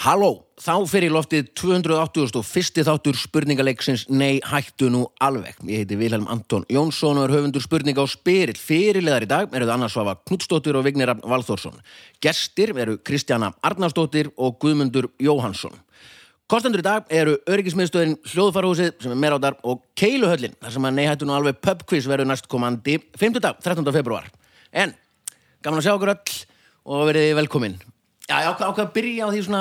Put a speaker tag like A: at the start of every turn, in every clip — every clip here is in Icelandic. A: Halló, þá fer í loftið 280. og fyrsti þáttur spurningaleiksins Nei, hættu nú alveg. Ég heiti Vilhelm Anton Jónsson og er höfundur spurninga á spyrill. Fyrirleðar í dag eruð Anna Svafa Knudsdóttir og Vignir Rafn Valþórsson. Gestir eru Kristjana Arnarsdóttir og Guðmundur Jóhansson. Kostendur í dag eru öryggismiðstöðin Hljóðfarhúsið sem er meiráttar og Keiluhöllin þar sem að Nei, hættu nú alveg pubquiz verður næst komandi 5. dag, 13. februar. En, gaman að sjá okkur öll og verið velkomin. Já, ég ákvað, ákvað að byrja á því svona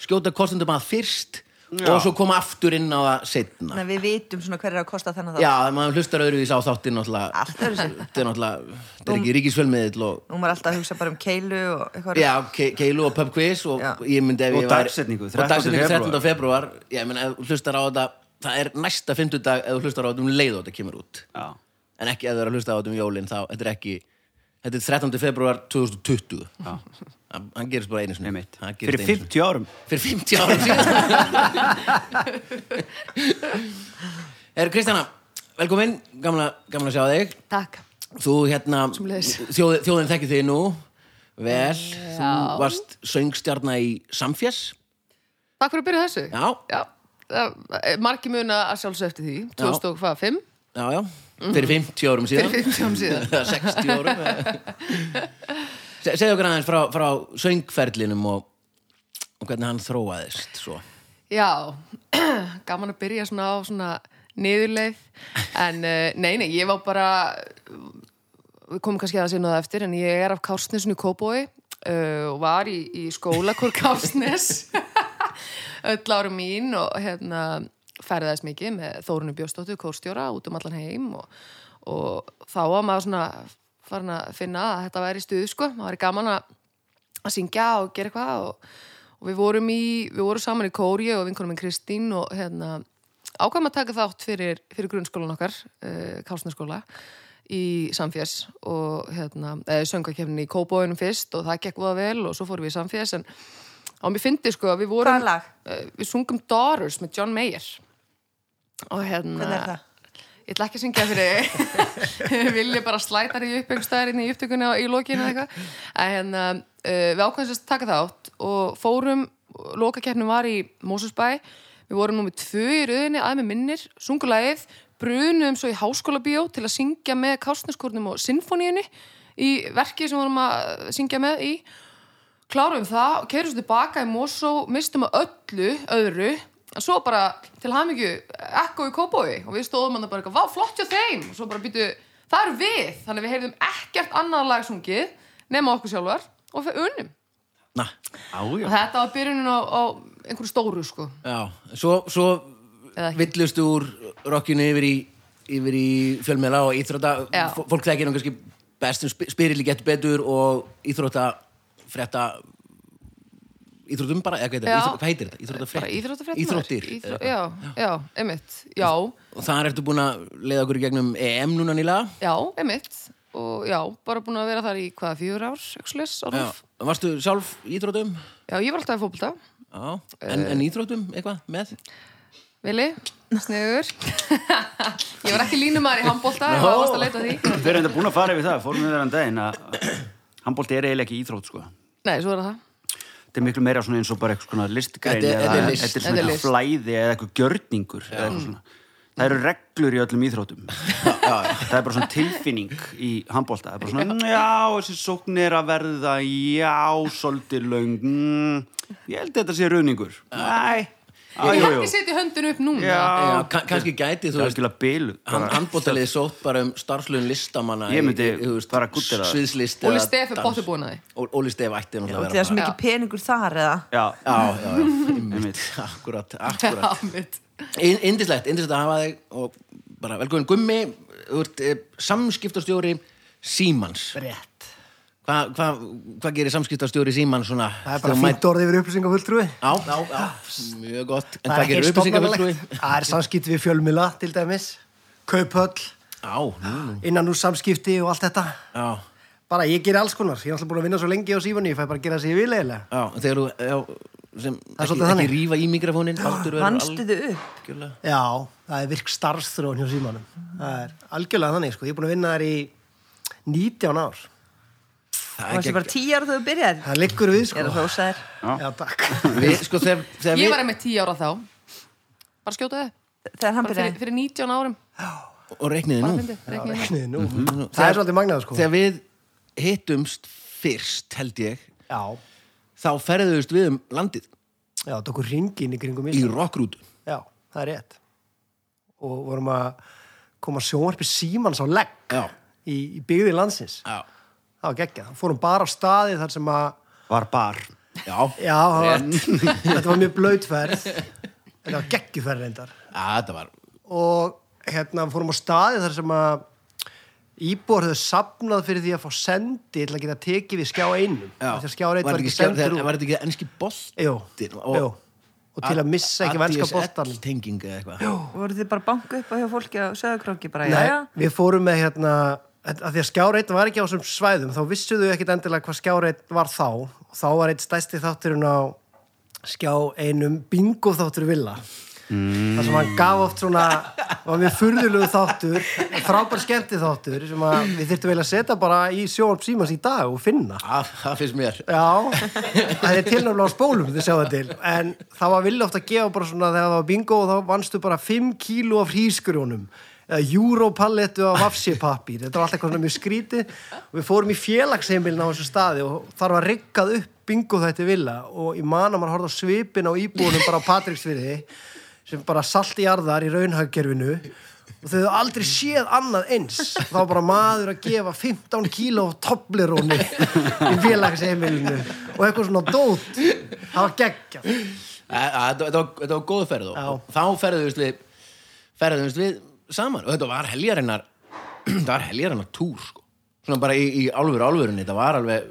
A: skjóta kostendum að fyrst og svo koma aftur inn á það setna.
B: Þannig að við vitum svona hver er að kosta þennan
A: Já,
B: þátt.
A: ef maður hlustar öðruvís á þáttin náttúrulega,
B: Allt
A: þetta
B: öðruvísi.
A: er náttúrulega, þetta er ekki ríkisfjölmiðill og,
B: Nú maður alltaf að hugsa bara um keilu og eitthvað.
A: já, ke keilu og pub quiz og
B: Já.
A: ég myndi ef
C: Og
A: ég væri...
C: dagsetningu,
A: Og
C: 13.
A: dagsetningu 13. februar, ég meina ef þú hlustar á þetta, það er næsta fymtudag ef þú hlustar á þetta um leið og þetta kemur út.
C: Já.
A: En ekki ef þú er að hlusta á þetta um jólin, þá, þetta er ekki, þetta er 13. februar 2020. Já. Hann gerist bara einu sinni.
C: Einmitt.
A: Hann gerist
C: Fyrir
A: einu sinni.
C: 50 árum
A: fyrir 50 árum síðan Er Kristjana, velkomin gamla, gamla að sjá þig
D: Takk.
A: Þú hérna,
D: Sömuleiðis.
A: þjóð, þjóðin þekkir þig nú Vel, þú varst söngstjarna í Samfjess
D: Takk fyrir að byrja þessu.
A: Já,
D: Já. það- eh, Margir muna að sjálfsög eftir því, 2005,
A: já, já, fyrir 50 árum síðan
D: Mhm. fyrir 50 árum síðan.
A: Eða 60 árum Se- Segðu okkur aðeins frá, frá söngferlinum og, og hvernig hann þróaðist svo
D: Já, gaman að byrja svona á svona niðurleið, en eh, nei, nei, ég var bara, við komum kannski að það sinna það eftir, en ég er af Kársnesinu Kóbói uh, og var í, í skólakor Kársnes öll ára mín og hérna ferðaðist mikið með Þórunni Bjóstóttu, kórstjóra, út um allan heim og, og þá var maður svona farin að finna að þetta væri stuð, sko, maður væri gaman að að syngja og gera eitthvað og, og við vorum í, við vorum saman í Kóri og vinkonum minn Kristín og hérna ákvæm að taka þátt fyrir, fyrir grunnskólan okkar, uh, Kálsnarskóla í Samfjess og hérna, eða söngakefni í Kóbóinum fyrst og það gekk voða vel og svo fórum við í Samfjess en á mér fyndi sko að við vorum
B: Hvaða lag?
D: Eh, við sungum Doris með John Mayer og hérna
B: Hvernig er það?
D: Ég ætla ekki að syngja fyrir þig. Vilja bara slæta þér í uppbyggstæðar inn hérna í upptökunni og í lokinu eða eitthvað. En hérna, uh, við ákvæmst að taka þátt og fórum, lokakeppnum var í Mósusbæ, við vorum nummið tvö í rauðinni að með minnir, sungulæðið, brunum svo í háskóla bíó til að syngja með kásneskórnum og sinfoníunni í verkið sem vorum að syngja með í klárum það, keirum svo tilbaka í Mosó, mistum að öllu öðru, en svo bara til hamingju, ekko í kópói og við stóðum hann bara eitthvað, vá, flott hjá þeim og svo bara býtu, það eru við þannig að við heyrðum ekkert annað lag sungið nema okkur sjálfar og fyrir unnum
A: Na,
D: og þetta var byrjunin á, á einhverju stóru sko
A: Já, svo, svo
D: Eða ekki.
A: villustu úr rockinu yfir í, yfir í fjölmiðla og íþrótta
D: Já.
A: F- fólk þekkir nú kannski best um sp- spyrili getur betur og íþrótta frétta íþróttum bara, eða hvað heitir
D: Já.
A: þetta? Íþró- Hvað heitir þetta? Íþrótta
D: bara íþróttafréttum
A: Íþróttir
D: Íþró...
A: eða-
D: já, já, einmitt, já
A: Og þar ertu búin að leiða okkur í gegnum EM núna nýlega
D: já, einmitt og já, bara búin að vera þar í hvaða fjör ár, ekslis,
A: Já.
D: orðnuf
A: Varstu sjálf í íþróttum?
D: já, ég var alltaf í fótbolta
A: Já, en,
D: Eh.
A: en íþróttum eitthvað með?
D: Vili, sniður Ég var ekki línumæður í handbólta no. og varst að leita að því
C: Við erum þetta búin að fara yfir það, fórum við þennan daginn að handbólti er eiginlega ekki íþrótt sko
D: Nei, svo er það
C: Þetta er miklu meira svona eins og bara eitthvað svona listgrein
A: Þetta er-
C: eða
A: þetta er list.
C: þetta er
D: Þetta
C: svona
D: er
C: eitthvað
D: list.
C: flæði eða eitthvað gjörningur eða eitthvað svona Það eru reglur í öllum íþrótum Það er bara svona tilfinning í handbólta Það er bara svona, "Mm, já, þessi sókn er að verða já, svolítið löng mm, Ég held að þetta sé ruðningur Næ,
D: Ég
C: aðjó,
D: hætti að setja höndin upp núna
A: Já,
C: Já,
A: kann- kannski gæti þú
C: það er ekki að bylu
A: Hann handbóttalið sótt bara um starflun listamanna
C: Ég myndi
A: í- í- þú veist,
C: fara að gúddera það.
A: Sviðslist
D: Óli
A: eða
D: Stef er
A: dans.
D: botnbúinn að því.
A: Ó- Óli Stef ætti nú að
B: Og
A: vera
B: það er svo
A: bara-
B: mikið peningur þar eða?
C: Já,
A: Já, já, já,
C: einmitt
A: akkurat, akkurat
D: Já, mitt
A: Í- Yndislegt, yndislegt að hafa þig og bara velkomin Gummi þú ert, eh, samskiptastjóri Símans
E: Brett.
A: Hvað hva, hva gerir samskiptastjóri Símans svona?
E: Það er bara
A: þegar
E: fínt orðið yfir upplýsingafulltrúi.
A: Já, já, já, mjög gott En
E: Það
A: hvað
E: er
A: gerir
E: ekki
A: upplýsingafulltrúi?
E: stofnanlegt. Það er samskipti við fjölmila, til dæmis. Kauphöll,
A: Já, nú, nú,
E: innan úr samskipti og allt þetta.
A: já
E: Bara ég gerir alls konar. Ég er alltaf búin að vinna svo lengi á sífani, ég fæ bara að gera það sem ég vil eiginlega.
A: Já, þegar þú, já, sem
E: er
A: ekki,
E: svolítið
A: ekki
E: þannig.
A: rífa í mikrofónin Baldur verður
B: Vannstu þau upp?
A: algjörlega
E: Já, það er virk starfstrón hjá símanum. Það er algjörlega þannig, sko. Ég er búin að vinna þar í 19 ár.
A: það
B: Þú
A: er
B: varst
A: ekki
B: bara tíjar þegar þú byrjaði
E: Það liggur við,
B: Ég er
E: sko.
B: að hrósa þér
E: Já, takk.
A: við, sko, þegar, þegar
D: Ég
A: við,
D: var einmitt 10 ára þá Bara skjóta þið
B: Þegar hann
D: Bara fyrir,
B: byrjaði
D: fyrir 19 árum
A: og reikniði
D: Bara
A: nú
D: fyndi, reiknið
E: Nei, nú. Það er svolítið magnað, sko.
A: þegar við hittumst fyrst held ég
E: Já,
A: þá ferðuðust við um landið
E: já, það okkur ringin í kringum sko.
A: í
E: Ísland.
A: rockrútu
E: Já, það er rétt. Og vorum að koma sjónvarpi símans á legg
A: Já.
E: í, í byggði landsins.
A: já,
E: Það var geggjað. Fórum bara á staði þar sem að
C: Var bar.
A: já,
E: Já, það var, þetta var mjög blöytferð þetta var geggjuferð reyndar
A: þetta var
E: og hérna við fórum á staði þar sem að íbúar höfðu safnað fyrir því að fá sendi til að geta tekið við skjá einum
A: já.
E: því að skjá reitt var
A: þetta
E: ekki
A: skjá-
E: sendur
A: þegar-
E: út
A: var þetta ekki ennski boltinn
E: Jú, jú. og til að missa ekki venska bóttan
A: tenging eða eitthvað já,
B: Voru þið bara banku upp á hjá fólki á söðakróki bara
E: Nei,
B: jæja?
E: við fórum með hérna að að því að skjáreit var ekki á þessum svæðum þá vissu þau ekkit endilega hvað skjáreit var þá og þá var eitt stæsti þátturinn á skjá einum bingo þáttur villa þar sem hann gaf oft svona var mjög furðulegu þáttur frábær skemmti þáttur sem að við þyrftum vel að setja bara í sjónvarp símans í dag og finna
A: það finnst mér
E: Já, það er tilnáfla á spólum þið sjá það til, en það var vilja oft að gefa bara svona þegar það var bingo og þá vannstu bara 5 kíló af hrísgrjónum eða júrópallettu af vafsipapir þetta var alltaf eitthvað svona mjög skrítið og við fórum í félagsheimilin á þessu staði og þar var riggað upp bingo þetta villa og ég man að maður horfði á svipin á íbúinum bara á Patricksfyrði sem bara salt í arðar í raunhagkerfinu og þau hefðu aldrei séð annað eins þá var bara maður að gefa 15 kíló toblerónu í félagsheimilinu og eitthvað svona dót það var geggja
A: Að- að- Þetta þetta eh, var, þetta var góð ferð og-
E: Já.
A: og þá ferðuðust við ferðuðust við saman og þetta var heljarinnar þetta var heljarinnar túr sko. svona bara í, í alvöru alvörunni þetta var alveg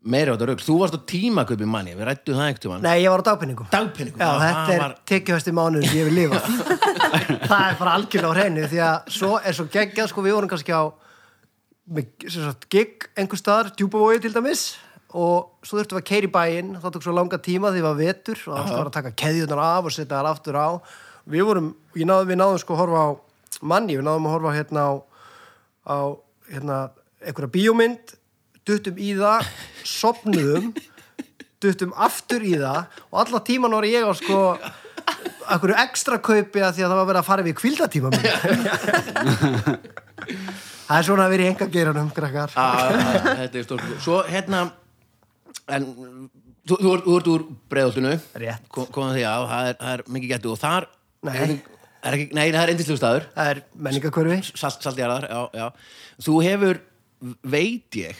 A: meira á þetta rögl þú varst á tímaköpi manni, við rættum það ekkert um hann
E: Nei, ég var á dagpenningum
A: dagpenningum,
E: Já,
A: það-
E: þetta
A: það
E: er
A: var-
E: tekjuhæsti mánuður sem ég vil lifa Það er bara algjörlega á hreinu því að svo er svo geggjað sko við vorum kannski á með, sem sagt, gig einhver staðar, djúpavogi til dæmis og svo þurftum við að keyra í bæinn það tók svo langa tíma því það var vetur og það var bara að taka keðjunar af og setja þar aftur á Við vorum, ég náðum, við náðum sko að horfa á manni, við náðum að horfa á, hérna á á hérna, einhverja bíómynd duttum í það, sopnuðum duttum aftur í það og alla tíman var ég á sko einhverju ekstra kaupi að því að það var verið að fara við kvildatíma minn það er svona að vera í enga geiranum krakkar
A: Að- að- að- ah, þetta er stórkostlega. svo hérna en þú, þú, ert- þú ert úr breiðoltinu
E: Rétt.
A: komað því að það er, það er mikið gettu og þar
E: Nei.
A: er ekki, nei, það er endislu staður
E: það er menningakörfi
A: salt, saltjarðar, já, já þú hefur, veit ég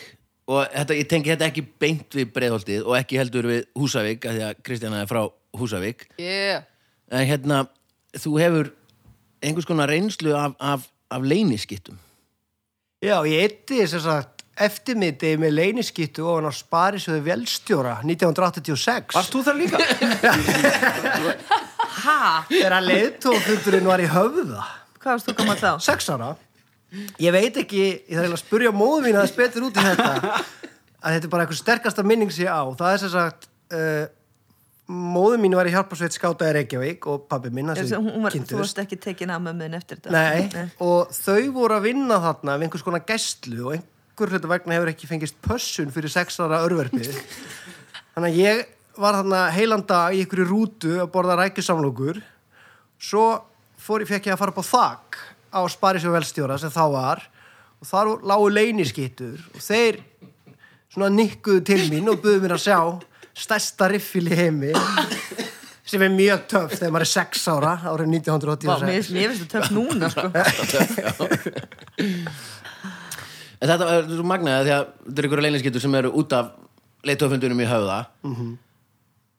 A: og þetta, ég tengi þetta ekki beint við breiðholtið og ekki heldur við Húsavík af því að Kristjana er frá Húsavík
D: yeah.
A: en hérna, þú hefur einhvers konar reynslu af, af, af leyniskittum
E: já, ég eitti þess að eftirmiðdegi með leyniskittu ofan á Sparisöðu Velstjóra 1986
C: Varst þú þar líka?
B: Ha?
E: þegar leiðtófundurinn var í höfða
B: Hvað varst þú komað þá?
E: sex ára ég veit ekki, ég þarf eiginlega að spurja móðu mín að það spetur út í þetta að þetta er bara eitthvað sterkasta minning sér á það er sem sagt uh, móðu mín var í hjálparsveit skátaði Reykjavík og pabbi minn
B: Ég
E: hans
B: sé,
E: við
B: hún var, þú
E: kynntumst.
B: varst ekki tekin af mömmuðin eftir þetta
E: Nei, og þau voru að vinna þarna af einhvers konar gæstlu og einhver hluta vegna hefur ekki fengist pössun fyrir sex ára örverfið. Þannig að ég var þarna heilan dag í einhverju rútu að borða rækjusamlokur. Svo fór ég fekk ég að fara upp á þak á Sparisjóð velstjóra sem þá var og þar lágu leyniskittur og þeir svona nikkuðu til mín og buðu mér að sjá stærsta riffil í heimi sem er mjög töff þegar maður er sex ára árið 1986.
B: Vá, mér, mér finnst þú töff núna sko.
A: en þetta er svo magnaði því að þetta er einhverja leyniskittur sem eru út af leittofundunum í höfða
E: Mhm.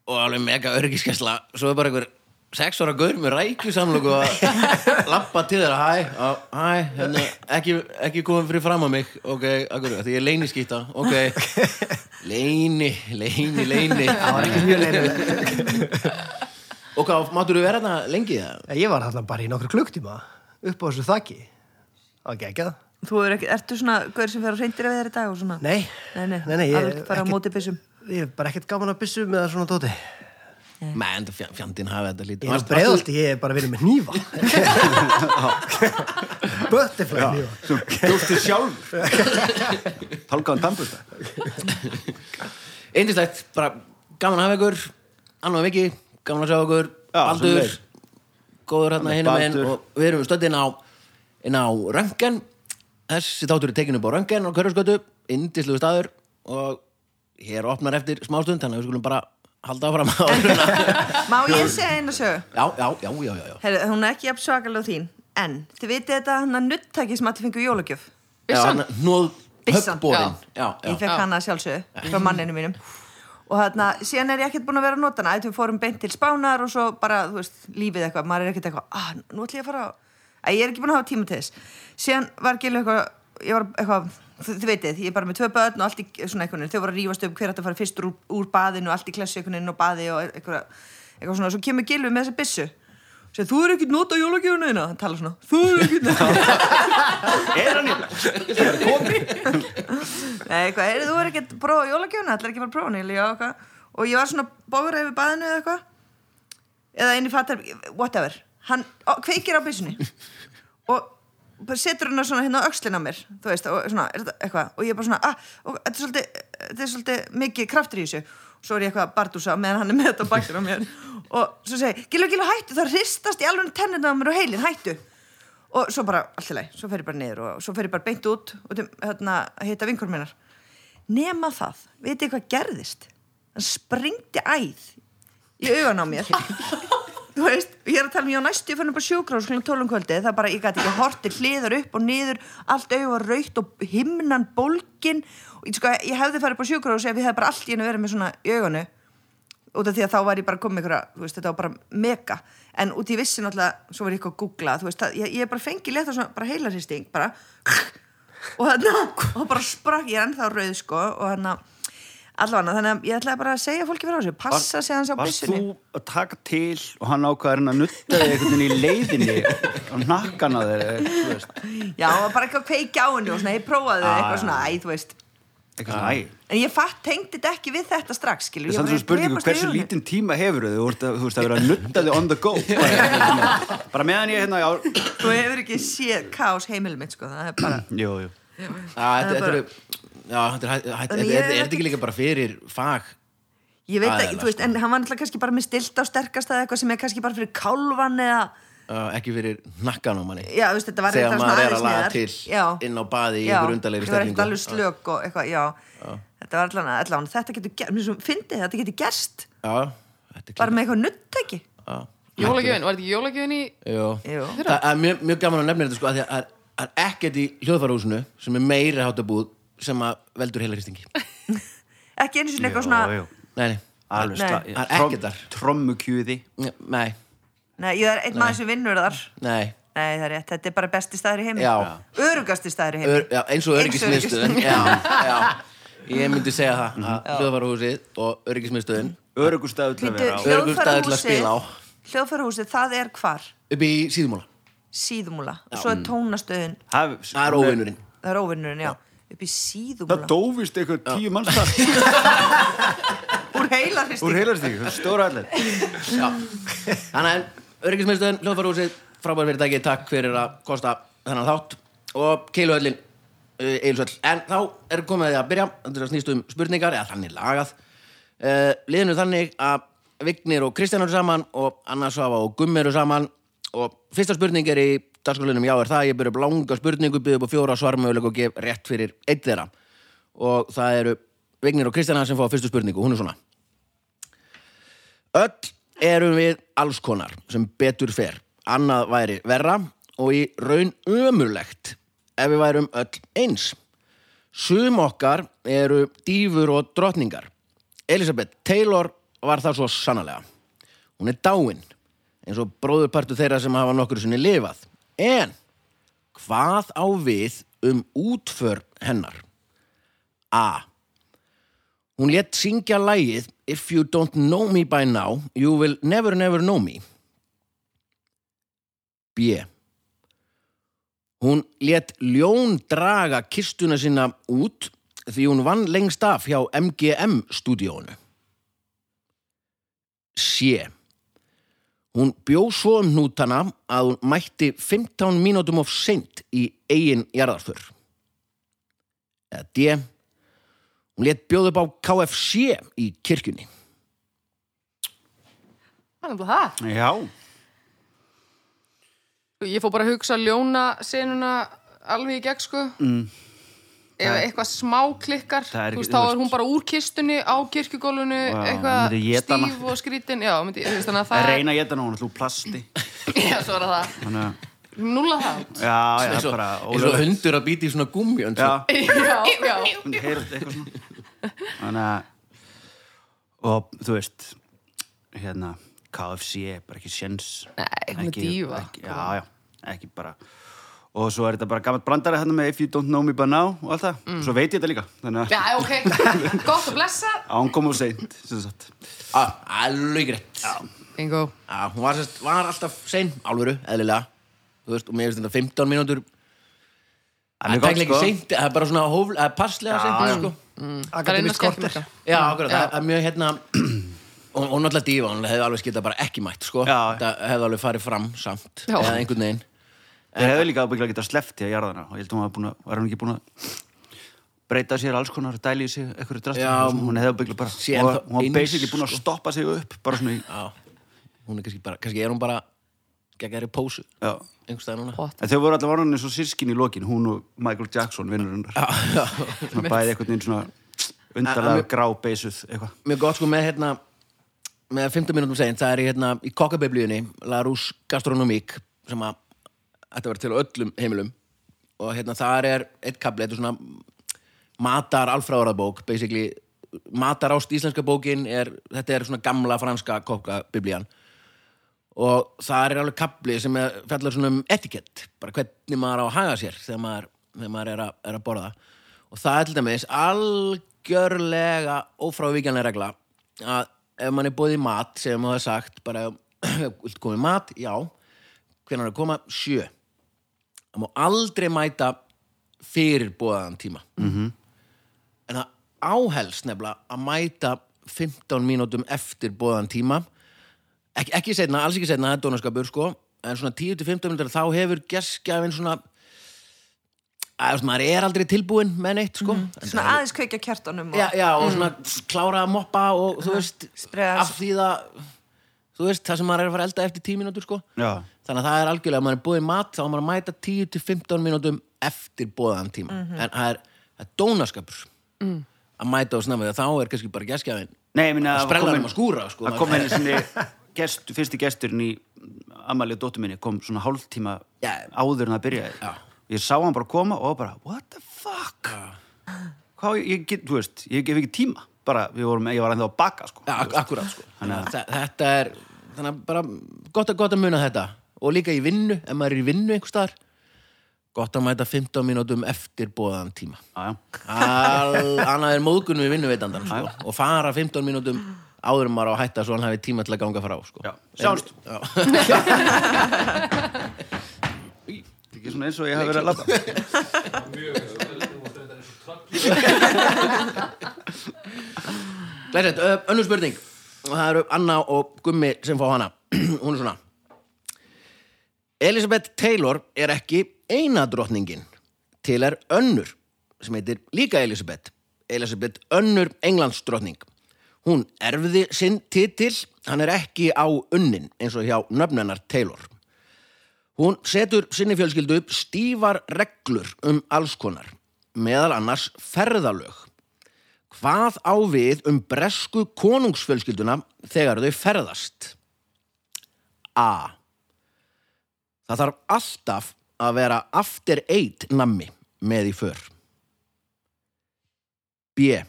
A: og alveg mega örgiskesla svo er bara einhver sex ára gaur með rækjusamlöku að lappa til þeirra hæ, á, hæ, hérna, ekki, ekki komum fyrir fram að mig ok, akkur, því ég er leyniskýta ok, leyni, leyni, leyni
E: Það var ekki mjög leirulegt.
A: og hvað, máttur þú vera þarna lengi það?
E: Ég var þarna bara í nokkru klukktíma upp á þessu þakki. Það var geggjað.
B: Þú er ekki, ertu svona gaur sem fer á reyndir að vera í dag og svona?
E: Nei.
B: Nei, nei,
E: Nei, nei, ég
B: alveg
E: er
B: bara á
E: ekki-
B: móti byssum
E: Ég er bara ekkert gaman að byssum með svona tóti.
A: menn, þetta fjandinn hafi þetta lítið
E: Ég er á breiðalti, ég er bara verið með nýfa Butterfly nýfa
C: sem bjóstu sjálfur Hálkaðan tannbusta
A: Eindislegt, bara gaman að hafa ykkur Anna og Viki, gaman að sjá ykkur
C: Já,
A: Baldur,
C: sömuleiðis.
A: góður hérna hinn megin
C: Baldur.
A: og við erum stöddin á inn á Röngen þessi þáttur er tekin upp á Röngen á Körfskötu indislegu staður og hér opnar eftir smástund þannig að við skulum bara halda áfram á runa
B: Má ég segja einu sögu?
A: Já, já, já, já, já, já.
B: Heyrðu, hún er ekki jafn svakalega og þín En þið vitið þetta hann að nuttaki sem allir fengur jólagjöf
D: Byssan?
A: já Nóð
B: Byssan.
A: höfborin já, já,
B: Ég fekk hana að sjálfsögðu frá manninu mínum Og þarna, síðan er ég ekkert búin að vera að nota hana Ættu við fórum beint til spánar og svo bara, þú veist, lífið eitthvað Maður er ekkert eitthvað, ah, nú ætlum ég að fara á- Æ, ég er ekki búin að hafa tíma til þess Síðan var Gilu eitthvað, ég var eitthvað þið, þið veitir, ég er bara með tvö börn og allt í svona einhvern veginn Þau voru að rífast um hver ætti að fara fyrst úr, úr baðinu og allt í klessu einhvern veginn og baði og eitthvað, eitthvað svona Svo kemur Gilu með þessa byssu Sér, þú er ekkert nota jólagjöfuna þína, hann talar svona Þú er ekkert nota
C: Er hann í
B: Nei, hvað, heyrðu, þú er ekkert prófa jólagjöfna, ætlar ekki að fara að prófa nýli, já, hvað Og ég var svona bóra yfir baðinu eða eitthvað Eða inn í fattar, whatever Hann ó, kveikir á byssunni Og bara setur hann svona hérna á öxlina á mér Þú veist, og svona, er þetta eitthvað Og ég er bara svona, ah, og þetta er svolítið Þetta er svolítið mikið kraftur í þessu Svo er ég eitthvað að bardúsa meðan hann er með þetta á bakinu á mér Og svo segi, ég, gilu, gilu, hættu Það hristast í alveg tenninu á mér og heilin, hættu og svo bara allt í lagi, svo fer ég bara niður og svo fer ég bara beint út og til, hérna, að hitta vinkur minnar nema það, veit ég hvað gerðist hann springdi æð í augan á mér þú veist, og ég er að tala um ég á næstu ég fann upp á sjúkrás kl. 12 um kvöldið það bara, ég gæti ekki hortið hliðar upp og niður allt auðvar raukt og himnan bólkin og ég, sko, ég hefði farið upp á sjúkrás ef ég hefði bara allt í hennu verið með svona í auganu út af því að þá var ég bara komið ykkur að, þú veist, þetta var bara mega en út í vissi náttúrulega, svo var ég eitthvað að googla þú veist, það, ég, ég bara fengi leta svona, bara heilarsýsting bara og þannig, og bara sprakk ég er ennþá rauð sko, og þannig allavega, þannig að ég ætlaði bara að segja fólki fyrir á þessu passa sig hans á
C: Varst
B: byssunni
C: þú að taka til og hann ákvaði hann að nutta þig einhvern veginn í leiðinni á nakkana þeir eitthvað
B: já, og bara eitthvað kveiki á henni og svona, ég prófaði
C: Ah,
B: eitthvað
C: já.
B: svona, æ, þú veist
C: svona, æ
B: en ég fatt, tengdi þetta ekki við þetta strax skilur,
C: Það er samt svona spurningu, hversu lítinn tíma hefur þau? Þú ert að, þú veist, að vera að nutta þig on the go bara, bara meðan ég hérna á...
B: þú hefur ekki séð kaos heimil mitt sko, það er
A: Mm.
B: bara
C: Jú, jú
A: já þetta- þetta eru- já, þetta er hætt- hætt-
B: Þannig
A: þetta- þetta-
B: ég er
A: er þetta ekki
B: ekkert-
A: líka bara fyrir fag
B: Ég veit ekki,
A: Aðeins,
B: þú veist, en hann var náttúrulega kannski bara með stilt á sterkast eða eitthvað sem er kannski bara fyrir kálvan eða,
A: uh, ekki fyrir nakkan á manni
B: já, þú veist, þetta var
A: þegar
B: eitthvað
A: maður er
B: aðeins
A: að laga
B: neðar.
A: til
B: já.
A: inn á baði í
B: Já,
A: einhver undarlegri
B: þetta var ekkert alveg
A: stellingu
B: slök og eitthvað, já. Þetta var allan, allan, þetta getur gerst, mér svo fyndið, þetta getur gerst,
A: já, þetta er
B: bara með eitthvað nuttæki.
A: klart
D: Jólagjöfin, var þetta ekki jólagjöfin í...
B: Jú.
A: það er mjög, mjög gaman að nefna þetta sko af því að það er- það er ekkert í hljóðfarúsinu sem er meira hátabúð sem að veldur heilarýstingi
B: Ekki einu sinni eitthvað svona,
A: nei, nei,
C: Alveg
B: Nei.
C: slag.
A: Það er ekkert þar.
C: Trommukjúði.
A: nei,
B: nei, ég er einn maður sem vinnur þar.
A: nei
B: Nei, það er rétt, þetta er bara besti staður í heimi.
A: Já.
B: Öruggasti staður í heimi.
A: Ör, já, eins og
B: Eins og
A: öryggismiðstöðin já, já, ég myndi segja það
B: Mhm.
A: að hljóðfarúsið og öryggismiðstöðin
C: Örugustæðu til að
B: Bíddu,
C: vera á.
A: Bíddu. Öruggur staður til að
B: hljóðfærahúsið-
A: spila á.
B: Hljóðfærahúsið, það er hvar?
A: upp í síðumóla,
B: Síðumúla. Svo er tónastöðin
C: Það
A: það er óvinnurinn
B: Það er óvinnurinn, já. Upp í
C: Það
B: síðumúla.
C: dófist eitthvað tíu manns þar
B: Úr heilarist.
C: úr heilarstík, stóra allir.
A: Já. Þannig að öryggismiðstöðin, hljóðfarúsið, frábær fyrirtæki, takk fyrir að kosta þennan þátt og keiluhöllin, uh, eilsöll. En þá er komið að því að byrja, þannig að snýst um spurningar, eða þannig lagað. Uh, liðinu þannig að Vignir og Kristján eru saman og Anna Svafa og Gummi eru saman og fyrsta spurning er í dagskólinum Já er það, ég byrja upp langa spurningu, byrja upp á fjóra svarmöguleg og gef rétt fyrir eitt þeirra. Og það eru Vignir og Kristjana sem fá fyrstu spurningu, hún er svona. Öll erum við alls konar sem betur fer. Annað væri verra og í raun ömurlegt ef við værum öll eins. Sum okkar eru dýfur og drottningar. Elisabeth Taylor var það svo sannlega. Hún er dáin, eins og bróðurpartu þeirra sem hafa nokkur sinni lifað. En hvað á við um útför hennar? A. Hún létt syngja lagið If you don't know me by now, you will never never know me. B. Hún létt ljón draga kistuna sína út því hún vann lengst af hjá MGM stúdíónu. C. sé. Hún bjó svo um hnútana að hún mætti 15 mínútum of seint í eigin jarðarför. Eða D. Hún let bjóð upp á KFC í kirkjunni.
D: Það er nefnilega það. Sko,
C: Já,
D: Ég fór bara að hugsa ljóna senuna alveg í gegn, sko. Mm. Ef eitthvað smá klikkar,
C: Það er
D: þú veist,
C: ekki-
D: þá
C: þú
D: er
C: veist-
D: hún bara úr kistunni á kirkugólunu,
C: Já,
D: eitthvað
C: myndi éta hana.
D: stíf og skrítin. Já, myndi, þú veist, þannig að
C: það
D: það...
C: reyna ég þetta nú, hún er þú plasti.
D: Já, svo er það.
C: Þannig að,
D: Núla það.
C: já, já,
A: Eins og-
C: bara
A: eins og hundur að býti í svona gummi.
C: Já,
D: já, já.
C: hún heyrði eitthvað svona. Þannig að, og þú veist, hérna, KFC er bara ekki sjens.
D: Nei, hún er
C: Ekki-
D: dífa.
C: ekki- Já, já, ekki bara. Og svo er þetta bara gammalt brandara hérna með If you don't know me by now og allt það. Svo veit ég þetta líka, þannig að
D: Já, ok. Gott að blessa.
C: án kom og seint, sem sagt.
A: Ah, alveg greitt. Já.
D: Bingo.
A: Já, hún var, sest, var alltaf sein, alvöru, eðlilega Þú veist, og mér finnst þetta 15 mínútur
C: er
A: Það
C: gott,
A: er ekki
C: sko.
A: seint, það er bara svona hófl, það er passlega
C: Já, já.
A: seint, sko
D: Það er
E: Akademísk
D: einn að
E: korter.
D: skemmta.
A: Já, okkur, það er mjög hérna og og náttúrulega dífa, hún hefði alveg skitað bara ekki mætt, sko
C: Já.
A: Það hefði alveg farið fram samt,
D: Já.
A: eða einhvern veginn
C: Þeir hefðu líka ábyggilega getað slefti að jarðana og ég held að hún var, búin að, var hún ekki búin að breyta sér alls konar, dæli í sig eitthvað drastur,
A: Já,
C: hún hefði ábyggilega bara
A: sé
C: hún var,
A: ennþá
C: hún var
A: eins,
C: basically búin að
A: sko.
C: stoppa sig upp bara svona í,
A: Já, hún er kannski bara, kannski er hún bara geggjari pósu,
C: já
A: einhvers staðar núna
D: What?
C: en þau voru allavega orðin eins og sískin í lokin hún og Michael Jackson vinnur hennar svona bæði einhvern veginn svona undarlega grá beisuð eitthvað
A: mjög gott sko með hérna með 15 mínútum segint, það er í hérna í kokkabiblíunni, La Rousse Gastronomique sem að þetta verður til á öllum heimilum og hérna þar er eitt kabli, þetta er svona matar alfráðarabók, basically matar ást íslenska bókin er, þetta er svona gamla franska kokkabiblían og þar er alveg kabli sem er, fjallar svona um etikett bara hvernig maður á að haga sér þegar maður, þegar maður er, að, er að borða og það er til dæmis algjörlega ófrávíkjanlega regla að ef mann er búið í mat sem þú hefur sagt bara vilt komið mat, já hvernig er að koma, sjö það má aldrei mæta fyrir búðaðan tíma -hmm. en það áhelst nefnilega að mæta 15 mínútum eftir búðaðan tíma ekki, ekki setna, alls ekki setna, það er dónaskapur sko, en svona 10-15 minnir þá hefur geskjafinn svona að þú veist, maður er aldrei tilbúinn með neitt sko en,
B: Svona aðeins kveikja kjartanum
A: já,
B: og...
A: já, og svona klára að moppa og þú veist,
B: Spreða
A: af því það þú veist, það sem maður er að fara að elda eftir 10 mínútur sko
C: já,
A: þannig að það er algjörlega, ef maður er búið í mat þá á maður að mæta 10-15 mínútum eftir búðan tíma, en það er, það er dónaskapur að mæta og snemma því að þá er kannski bara geskjafinn
C: nei, ég minna
A: Það sprellar um að skúra, sko.
C: að kom henni sinni gest, fyrsti gesturinn í Amalíu dóttur minni kom svona hálftíma
A: Já.
C: áður en það byrjaði
A: Já.
C: ég sá hann bara koma og bara what the fuck hvað, ég- ég get, þú veist, ég gef ekki tíma bara, við vorum, ég var ennþá að baka sko.
A: Ja, ak akkurat sko
C: Þannig að-
A: Þa- Þetta er þannig að bara gott að, gott að muna þetta og líka í vinnu, ef maður er í vinnu einhvers staðar gott að mæta 15 mínútum eftir bóðan tíma
C: já, já.
A: Al, annað er móðgunum í vinnuveitandan sko, og fara 15 mínútum áður en maður á að hætta svo hann hafi tíma til að ganga frá sko.
C: Já. Sjáumst.
A: Já.
C: Það er ekki svona eins og ég hef verið að labba
A: Glæsilegt, ö, önnur spurning og það eru Anna og Gummi sem fá hana hún er svona Elizabeth Taylor er ekki eina drottningin til er önnur sem heitir líka Elizabeth Elizabeth önnur Englands drottning hún erfði sinn titil hann er ekki á unnin eins og hjá nöfnennar Taylor Hún setur sinni fjölskyldu upp stífar reglur um alls konar, meðal annars ferðalög. Hvað á við um bresku konungsfjölskylduna þegar þau ferðast? A. Það þarf alltaf að vera after eight nammi með í för. B.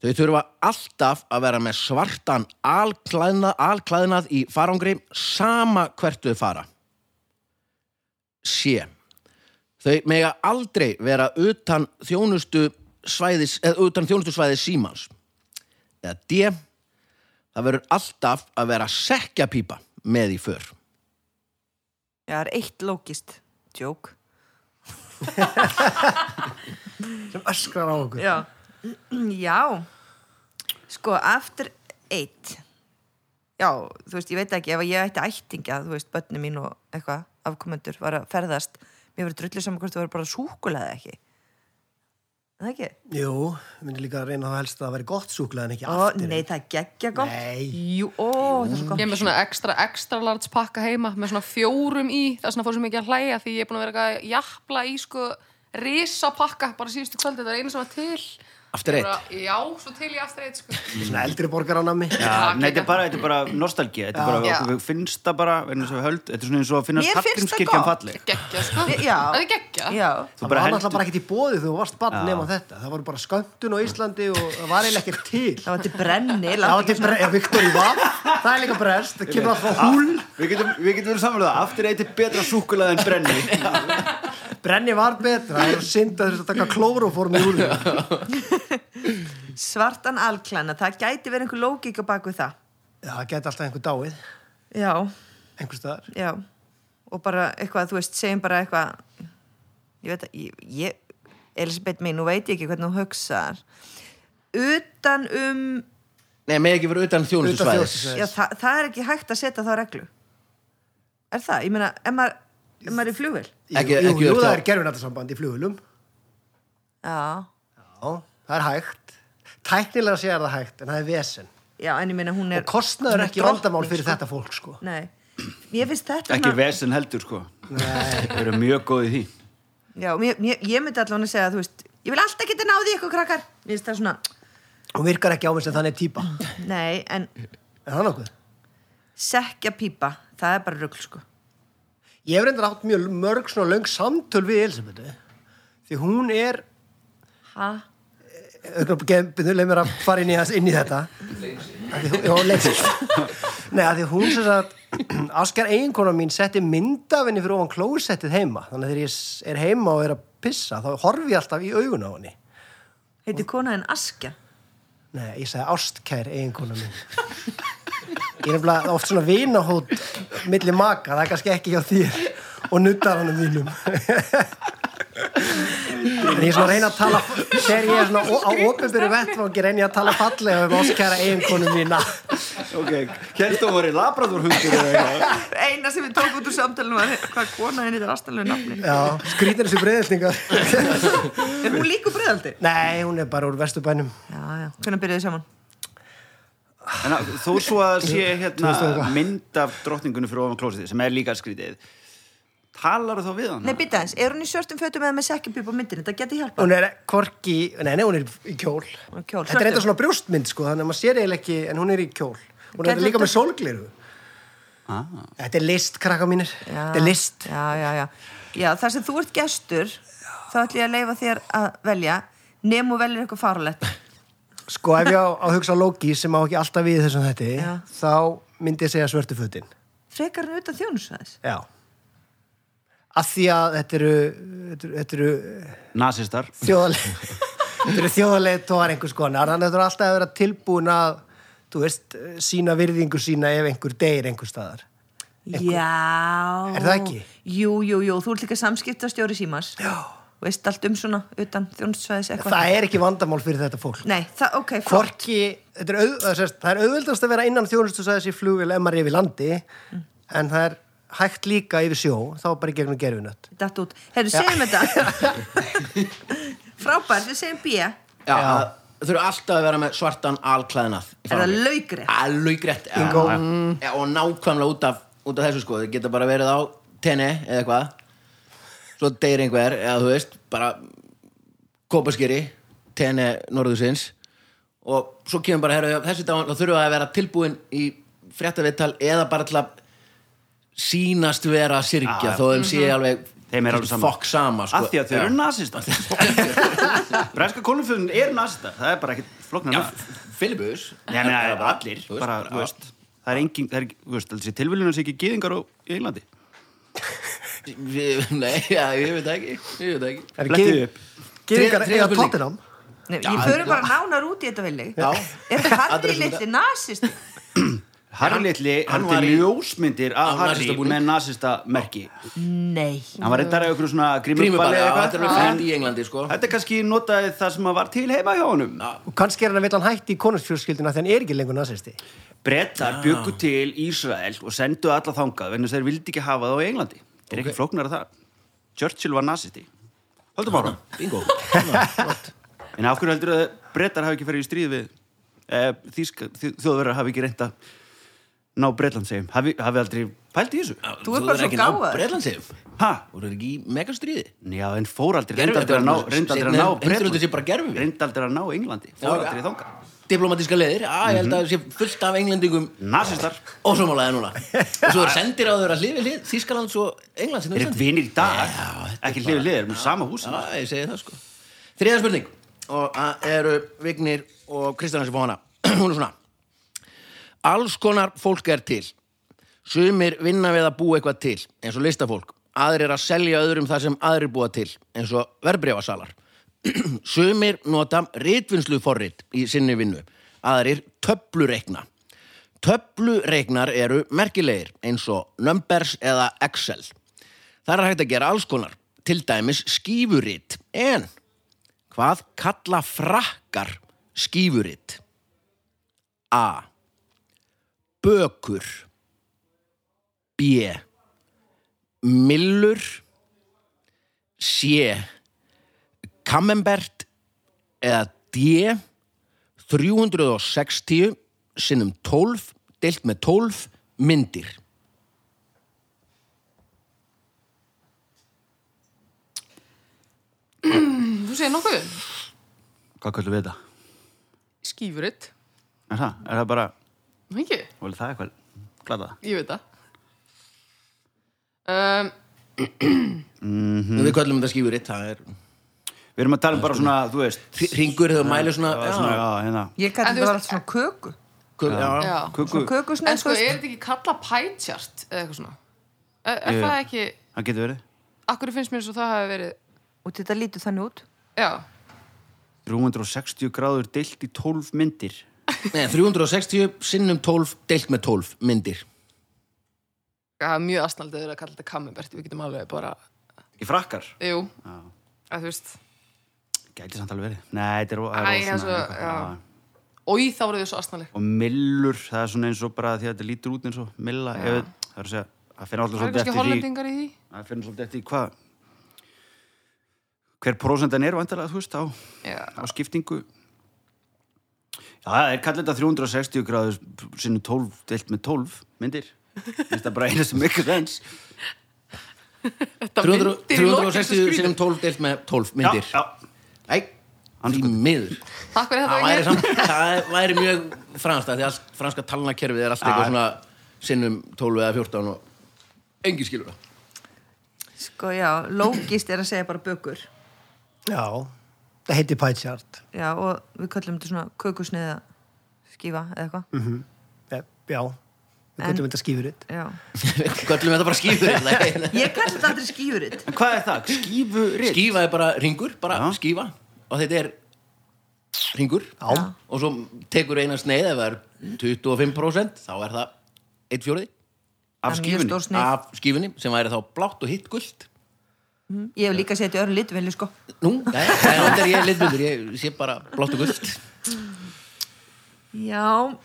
A: Þau þurfa alltaf að vera með svartan alklæðnað, alklæðnað í farangri sama hvert þau fara sé þau mega aldrei vera utan þjónustu svæðis eða utan þjónustu svæðis símans eða D það verður alltaf að vera sekkjapípa með í för
B: Já, það er eitt lókist Jók
E: sem öskrar á okkur.
B: Já Já Sko, after eight já, þú veist, ég veit ekki ef ég ætti ættingja, þú veist, bönni mín og eitthvað, afkomendur, var að ferðast mér verið drullu saman hvort þú verið bara súkulega eða ekki Er það ekki?
E: Jú, myndi líka að reyna þá helst að það væri gott súklað en ekki
B: Ó,
E: aftur.
B: nei, það geggja gott
E: Nei.
B: Jú, ó, það er svo gott
D: Ég er með svona ekstra, ekstra large pakka heima með svona fjórum í, það er svona fór sem ekki að hlæja því ég er búin að vera eitthvað að jafla í sko risapakka bara síðustu kvöldi það er einu sem var til
A: Aftur
D: Ég bara,
A: eitt.
D: Já, svo til í aftur eitt sko
E: Svona eldri borgaranami.
C: Já,
D: Já,
C: nei, þetta
D: geggjað.
C: er bara, þetta er bara nostalgía, þetta er bara,
D: Já.
C: okkur við finnst það bara, vegna þess að við höld, þetta er svona eins og að
B: Mér finnst
C: finnast
B: það
C: Hallgrímskirkjan
B: gott.
C: falleg.
D: Gekkja sko
B: Já.
D: Það er gekkja
B: Já,
C: Þú
E: Það
C: bara
E: var
C: heldur-
E: alltaf bara ekkert í bóði þú varst barn
C: Já.
E: nema þetta. Það voru bara sköndun á Íslandi og það var eiginlega ekkert til.
B: það var til brenni
E: Já,
B: láttu
E: þetta
B: ekki
E: er bara, já, Viktor í vatn, það er líka brest, það kemur alltaf
A: Ah.
E: húl.
C: Við getum, við getum verið samanlega, aftur eitt er betra súkulað en brenni.
E: Brenni var betra, það er synd að þess að taka klóróformi úr því.
B: svona svartan alklæna, það gæti verið einhver lógík á baku það
E: Já, það gæti alltaf einhver dáið,
B: Já,
E: einhver staðar.
B: já og bara eitthvað, þú veist, segjum bara eitthvað ég veit að ég, ég, Elisabeth mín, nú veit ég ekki hvernig hún hugsar utan um
A: Nei, með ekki vera utan
E: Utan
A: þjónustusvæðis
E: þjóðsins.
B: já, það, það er ekki hægt að setja þá reglu er það, ég meina ef maður, ef maður er í flugvél
A: Ekki-
E: Jú,
A: ekki
E: jú,
A: upp
E: það
A: þá.
E: er gerfinatarsamband í flugulum.
B: já,
E: Já, það er hægt. Tæknilega sé það hægt, en það er vesen.
B: já, en ég meina hún er
E: Og kostnaður
B: hún
E: ekki
B: drottning,
E: vandamál fyrir
B: sko.
E: þetta fólk, sko.
B: nei, ég finnst þetta
C: Ekki
B: svona-
C: vesen heldur, sko. Nei. Við erum mjög góðið því.
B: já, mér, mér, ég myndi allavega að segja, þú veist ég vil alltaf geta náði ykkur krakkar ég finnst það svona,
E: Hún virkar ekki á mig sem þannig típa.
B: nei, en
E: Er það nokkuð?
B: sekja pípa, það er bara rugl sko
E: Ég hef reyndar átt mjög mörg svona löng samtöl við Elisabetu. Því hún er,
B: ha?
E: auðvitað, leið mér að fara inn í, þess, inn í þetta. Af því hún- Já, leysið. Nei, að því hún sem sagt, Askar eiginkona mín setti myndafinni fyrir ofan klósettið heima. Þannig að þegar ég s- er heima og er að pissa, þá horfi ég alltaf í augun á henni.
B: heiti konaðin Askja
E: Nei, ég sagði ástkær eiginkona mín. Ég er nefnilega oft svona vinahót milli maka, það er kannski ekki hjá þér og nuttar hann um þínum. En ég er svona að reyna að tala, þegar ég er svona ó- á ofinbyrju vettvangi, reyni ég að tala fallega um ástkæra eiginkonu mína.
C: Ok, hérna voru labradorhundur eða eitthvað.
B: eina sem við tók út úr samtalinu var hvað konaðin þetta er astanlega nafni
E: Já, skrítir þessu breyðeltingar.
B: er hún líku breyðaldi?
E: Nei, hún er bara úr vesturbænum.
B: já, já, hvernig byrjuðu saman?
C: En að- þó svo að sé
E: Þú veist
C: hérna
E: það.
C: mynd af drottningunum fyrir ofan klósitið, sem er líka skrítið, talar þá við hann?
B: nei, býta eins, er hún í svörtum fötum eða með sekkjabíp á myndinu? það geti hjálpað
E: Hún er korki, nei, nei, hún er í kjól.
B: Hún er í kjól,
E: Þetta er
B: svörtum.
E: eitthvað svona brjóstmynd, sko, þannig að maður sér eiginlega ekki, en hún er í kjól. Hún er
B: Gæti
E: líka
B: þetta-
E: með sólgliru.
C: Ah.
E: Þetta er list, krakka mínir. Þetta er list.
B: já, já, já. já, þar sem þú ert gestur þá ætlum ég að leifa þér að velja nefn og velja eitthvað farulegt
E: Sko, ef ég á á að hugsa Loki sem á ekki alltaf við í þessum þetta,
B: Já.
E: þá myndi ég segja svörtu fötin.
B: frekar hann utan þjónusvæðis
E: Já. Af því að þetta eru, þetta eru, þetta eru
C: Nasistar.
E: þjóðaleg, þetta eru þjóðaleg tóðar einhvers konar. Þannig að þetta eru alltaf að vera tilbúin að, þú veist, sína virðingu sína ef einhver deyr einhver staðar.
B: já
E: Er það ekki?
B: jú, jú, jú, þú ert líka samskiptastjóri símas já veist allt um svona utan þjónusvæðis eitthvað
E: Það er ekki vandamál fyrir þetta fólk.
B: Nei, það, ok, flott
E: Hvorki, þetta er auð, það er sérst- það er auðveldast að vera innan þjónustusæðis í flugvél ef maður er yfir landi, en það er hægt líka yfir sjó, þá bara í gegnum gerfinött.
B: Datt út. Herru, segjum þetta. Frábært, við segjum B. Er
A: Já, það- þau eru alltaf að vera með svartan alklæðnað í
B: það
A: farangri.
B: laugrið?
A: Alveg greitt já,
E: Bingo.
A: já. Já, Og nákvæmlega út af, út af þessu sko Þau geta bara verið á tenni eða eitthvað Svo deyr einhver eða þú veist, bara kópaskýri, tenni norðusins og svo kemur bara herra, þessi dag, þá þurfa að vera tilbúin í fréttaviðtal eða bara til að sínast vera sirkja
C: Já,
A: þó þeim sé alveg
C: Þeim er alveg sama.
A: fokk sama sko.
C: Af því að þau
A: Já.
C: eru nasistar. Breska konumfjöðun er nasistar, það er bara ekkert flóknar
A: Já,
C: nafn.
A: Filibus
C: Nei, nei, það er allir,
A: Þú veist,
C: bara, þú veist, það er engin, það er, þú veist, þessi tilvílunar sé ekki gyðingar á í Englandi.
A: Við, nei, já, ég veit það ekki Ég veit það ekki
E: Er
C: Flettið
E: gyð-
C: upp.
E: Gyðingar
A: Þriðja-
E: eða
A: þriðja spurning.
E: Tottenham?
B: Nei, ég fyrir bara nánar út í þetta vilji.
A: Já.
B: Er
A: Andrés
B: Harry
A: Lunda.
B: litli nazist?
C: Harry Litli,
A: hann
C: hann
A: var
C: var
A: í-
C: ljósmyndir
A: á
C: af Harry
A: nasistabúning.
C: með nasista merki.
B: Nei.
C: Hann var reyndar af ykkur svona
A: Grímubali,
C: grímuballi
A: já,
C: eða
A: þetta er alveg
C: eitthvað.
A: fænt í Englandi, sko
C: En Þetta er kannski notaði það sem að var til heima hjá honum.
E: Og kannski er hann að vilja hann hætti í konungsfjörskildina þegar hann er ekki lengur nazisti.
C: brettar byggu til Ísrael og sendu alla þangað vegna þess að þeir vildi ekki hafa það á Englandi það er ekki flóknar að það Churchill var nazisti höldum ára
A: Bingo
C: en af hverju heldur að brettar hafi ekki farið í stríð við e, þýska, þjóðverðar hafi ekki reynda ná bretlandsegjum hafi, hafi aldrei pælt í þessu
B: Þú ert bara svo
A: ekki ná
B: gáfaður.
A: Bretlandsif
C: ha?
A: Þú eru ekki í megastríði
C: Já, en fór aldrei reynda aldrei að ná reynda aldrei að ná
A: Heimstyrjöldin sé bara gerfi.
C: reynda aldrei að ná Englandi fór aldrei þangað
A: Diplomatíska leiðir Já, ég held að það sé fullt af englendingum
C: Mhm. Nasistar
A: Ósámálaði núna Og svo er sendir á þeirra hlið við hlið Þískaland svo England
C: er ekki vinir í dag ekki hlifið liður, erum við sama húsi
A: Já, ég segi það sko Þriða spurning og það eru Vignir og Kristján sem fá hana Hún er svona Alls konar fólk er til Sumir vinna við að búa eitthvað til eins og listafólk Aðrir að selja öðrum það sem aðrir búa til eins og verbreyfasalar Sumir nota ritvinnsluforrit í sinni vinnu Aðrir töflureikna Töflureiknar eru merkilegir eins og Numbers eða Excel Það er hægt að gera alls konar, til dæmis skífuritt. En hvað kalla frakkar skífuritt? A. Bökur B. Millur C. Kamembert eða D. 360 sinnum 12 deilt með 12 myndir.
D: Þú segir nokkuð? um.
C: Hvað kvöldu við þetta?
D: Skífuritt.
C: Er það, er það bara,
D: Nú ekki?
C: volið það eitthvað glada?
D: Ég veit það. Um,
A: Við köllum þetta skífuritt, það er...
C: Við erum að tala um bara svona, þú veist
A: ringur þegar mælu svona,
C: það
A: já,
C: var svona, já, hérna
B: Ég
D: En
B: gæti
D: þú
B: þetta
D: veist-
B: var alltaf svona köku
A: svona, já.
D: já.
C: Kuku,
B: Svona kökusneið
D: En sko, er þetta ekki kalla pie chart eða eitthvað svona? Er, er
C: Jú.
D: það ekki,
C: það getur verið
D: akkur finnst mér svo það hafi verið,
B: Og þetta lítur þannig út
D: já,
C: 360 gráður deilt í 12 myndir
A: Nei, 360 sinnum 12 deilt með 12 myndir
D: það er mjög aðsnaldið að kalla þetta kamembert, við getum alveg bara,
C: Í frakkar
D: jú, að þú veist,
C: Gæti samt alveg verið Nei, þetta er ó- það
D: Æ,
C: er ó-
D: það er svo-
C: eitthvað,
D: já. oi þá voruð þau svo aðsnaldið.
C: Og millur, það er svona eins og bara því að þetta lítur út eins og milla ef, Það er að segja, það finnir alltaf
D: Það
C: svolítið
D: er kannski
C: eftir því
D: hollendingar í því?
C: Það finnir svolítið eftir því hvað Hver prósendan er vandalega, þú veist, á,
D: Já,
C: á skiptingu Já, það er kallið þetta 360 gráður sinni 12, deilt með 12 myndir Finnst það bara einu sem mikil sens
A: 300,
D: myndir í lokin sem
A: 360
D: skrýtur.
A: sinnum 12 deilt með 12 myndir
C: Já, já
A: Æ, því miður
D: takk fyrir
A: Það
D: þetta
A: væri,
D: ekki.
A: samt, það væri mjög franskt af því að franska talnakerfið er alltaf eitthvað svona sinnum 12 eða 14 og engin skilur það
B: Sko já, lógist er að segja bara bökur
E: Já, það heitir pie chart.
B: Já, og við köllum þetta svona kökusneiða skífa eða eitthvað
E: Eh, Já, við getum þetta skífuritt.
B: Já
A: Köllum þetta bara skífur
B: Ég kalli þetta aldrei skífuritt
C: En hvað er það? Skífuritt?
A: Skífa er bara ringur, bara
C: Já.
A: skífa og þetta er ringur
E: Já. Já.
A: og svo tekur eina sneið ef það er 25% þá er það 1 fjóriði
C: Af skífunni?
B: stór sneið.
A: af skífunni sem væri þá blátt og hitt gullt
B: Ég hef líka setið öru litvili sko
A: Nú, nei, nei, það er ég litbundur, ég sé bara blátt og gullt
B: Já,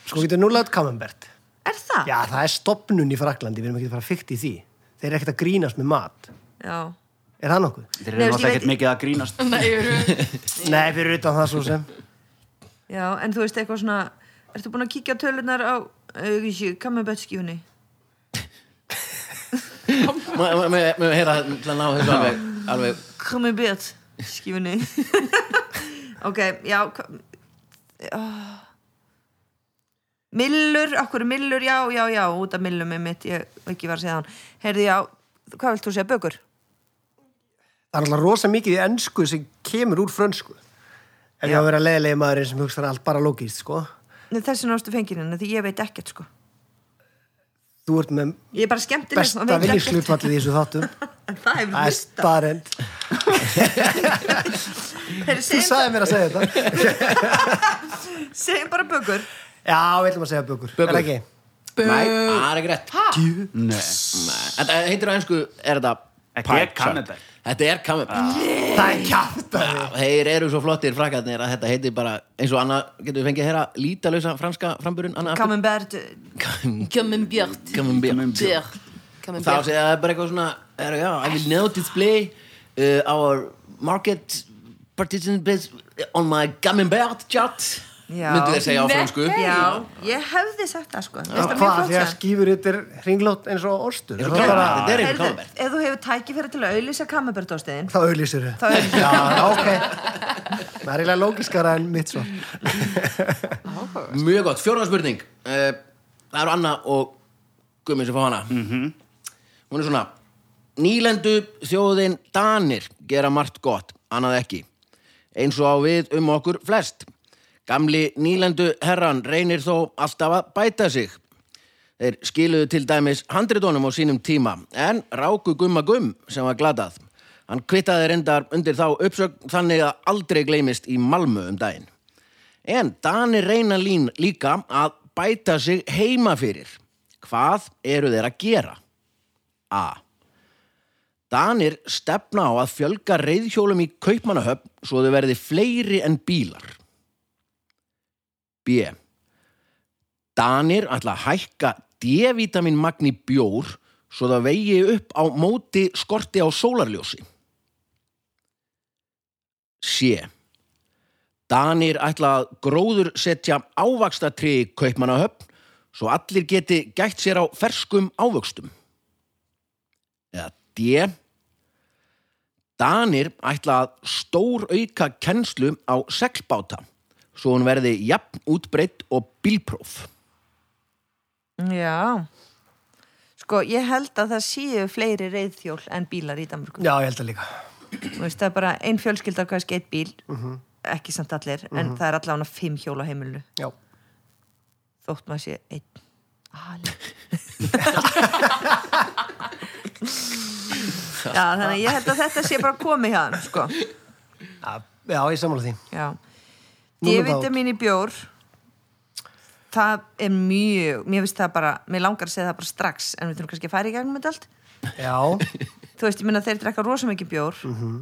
E: Sko getur núlega kamembert.
B: er það?
E: Já, það er stopnun í Fraklandi, við erum ekki að fara fyrkt í því. Þeir eru ekkert að grínast með mat.
B: Já.
E: Er það nokkuð?
C: Þeir
B: Nei,
C: eru
B: ég
C: náttúrulega
B: veit-
C: ekkert mikið að grínast
D: Nei, ég eru,
E: Nei, fyrir utan það svo sem.
B: Já, en þú veist eitthvað svona Ertu búin að kíkja á tölunar á eh, Kamabötskífunni?
A: Mér heyra það til að ná þessu alveg, alveg
B: Kamabötskífunni Ok, já hva- Ah. Millur, okkur millur, já, já, já út af millum er mitt, ég ekki var að segja hann Heyrðu, já, hvað vilt þú segja, bökur?
E: Það er alltaf rosa mikið í ennsku sem kemur úr frönsku. En ég hafa verið að leiðilegi maðurinn sem hugsa allt bara logist, sko.
B: Nei, Þessi nástu fenginina, því ég veit ekkert sko
E: Þú ert með
B: Ég er bara skemmtileg og
E: besta
B: veit ekkert.
E: viljuslutvallið í þessu þáttum.
B: Það hefur
E: Það er
B: hlusta
E: starrend.
B: Heyrðu,
E: Þú
B: segjum,
E: sagði mér að segja þetta.
B: segjum bara bökur
E: Já, við ætlum að segja bökur.
A: Bökur.
E: Er það ekki?
A: Nei, það er ekki rétt
D: ha,
A: Nei, Þetta heitir á einsku, er Ah. þetta
C: Ekki
A: pie chart?
C: Camembert.
A: Þetta er kammerpils
E: það er kjátt
A: Þeir eru svo flottir frakarnir að þetta heitir bara eins og annað, getur við fengið að heyra lítalösa franska framburinn annað
B: Camembert
D: Camembert
A: Kammerpils Þá
D: Camembert
A: segja það er bara eitthvað svona er, já, I will now display uh, our market participants on my Camembert chart
B: Já.
A: myndu þeir segja á
D: Nei.
A: fransku
B: Já, ég hefði sagt það sko Veist það mjög
E: hvað
B: flott
E: þegar
B: sagt?
E: skýfur yttir hringlót eins og orstur
A: Eins og
E: þá bara
A: Camembert. um Þetta er eitthvað
B: Heyrðu,
A: Camembert
B: Ef þú hefur tækifæri til að auðlýsa Camembert ástæðin
E: þá auðlýsir þau
B: Þá er
E: já, ok það er eiginlega lógiskara en mitt svo
A: Mjög gott, fjórða spurning uh, Það eru Anna og Gummi sem fá hana Hún er svona Nýlendu þjóðin Danir gera margt gott, annað ekki eins og á við um okkur flest Gamli nýlendu herran reynir þó alltaf að bæta sig Þeir skiluðu til dæmis handritónum á sínum tíma en ráku gumma gum sem var glatað Hann kvittaði reyndar undir þá uppsögn þannig að aldrei gleymist í Malmö um daginn En Danir reyna lín líka að bæta sig heima fyrir. Hvað eru þeir að gera? A. Danir stefna á að fjölga reyðhjólum í kaupmanahöfn svo þau verði fleiri en bílar. B. Danir ætla að hækka D-vitamin magni bjór svo það vegi upp á móti skorti á sólarljósi. C. Danir ætla að gróður setja ávaxtatri í kaupmannahöfn svo allir geti gætt sér á ferskum ávöxtum. Eða D. Danir ætla að stór auka kennslu á seglbáta svo hún verði jafn útbreytt og bílpróf.
B: Já Sko, ég held að það séu fleiri reyðhjól en bílar í Danmörku
E: já, ég held það líka
B: Þú veist, það er bara ein fjölskylda á kannski eitt bíl
E: Mhm.
B: ekki samt allir, en það er allavega fimm hjól á heimilu,
E: já,
B: þótt maður sé einn alveg Já, þannig að ég held að þetta sé bara komið hjá þeim, sko
E: já, já ég sammála því
B: Já
E: Númer
B: D-vitamin í bjór það er mjög mér finnst það bara, mér langar að segja það bara strax en við þurfum kannski að færa í gegnum þetta allt
E: já,
B: þú veist, ég minna þeir drekka rosa mikið bjór
E: Mhm.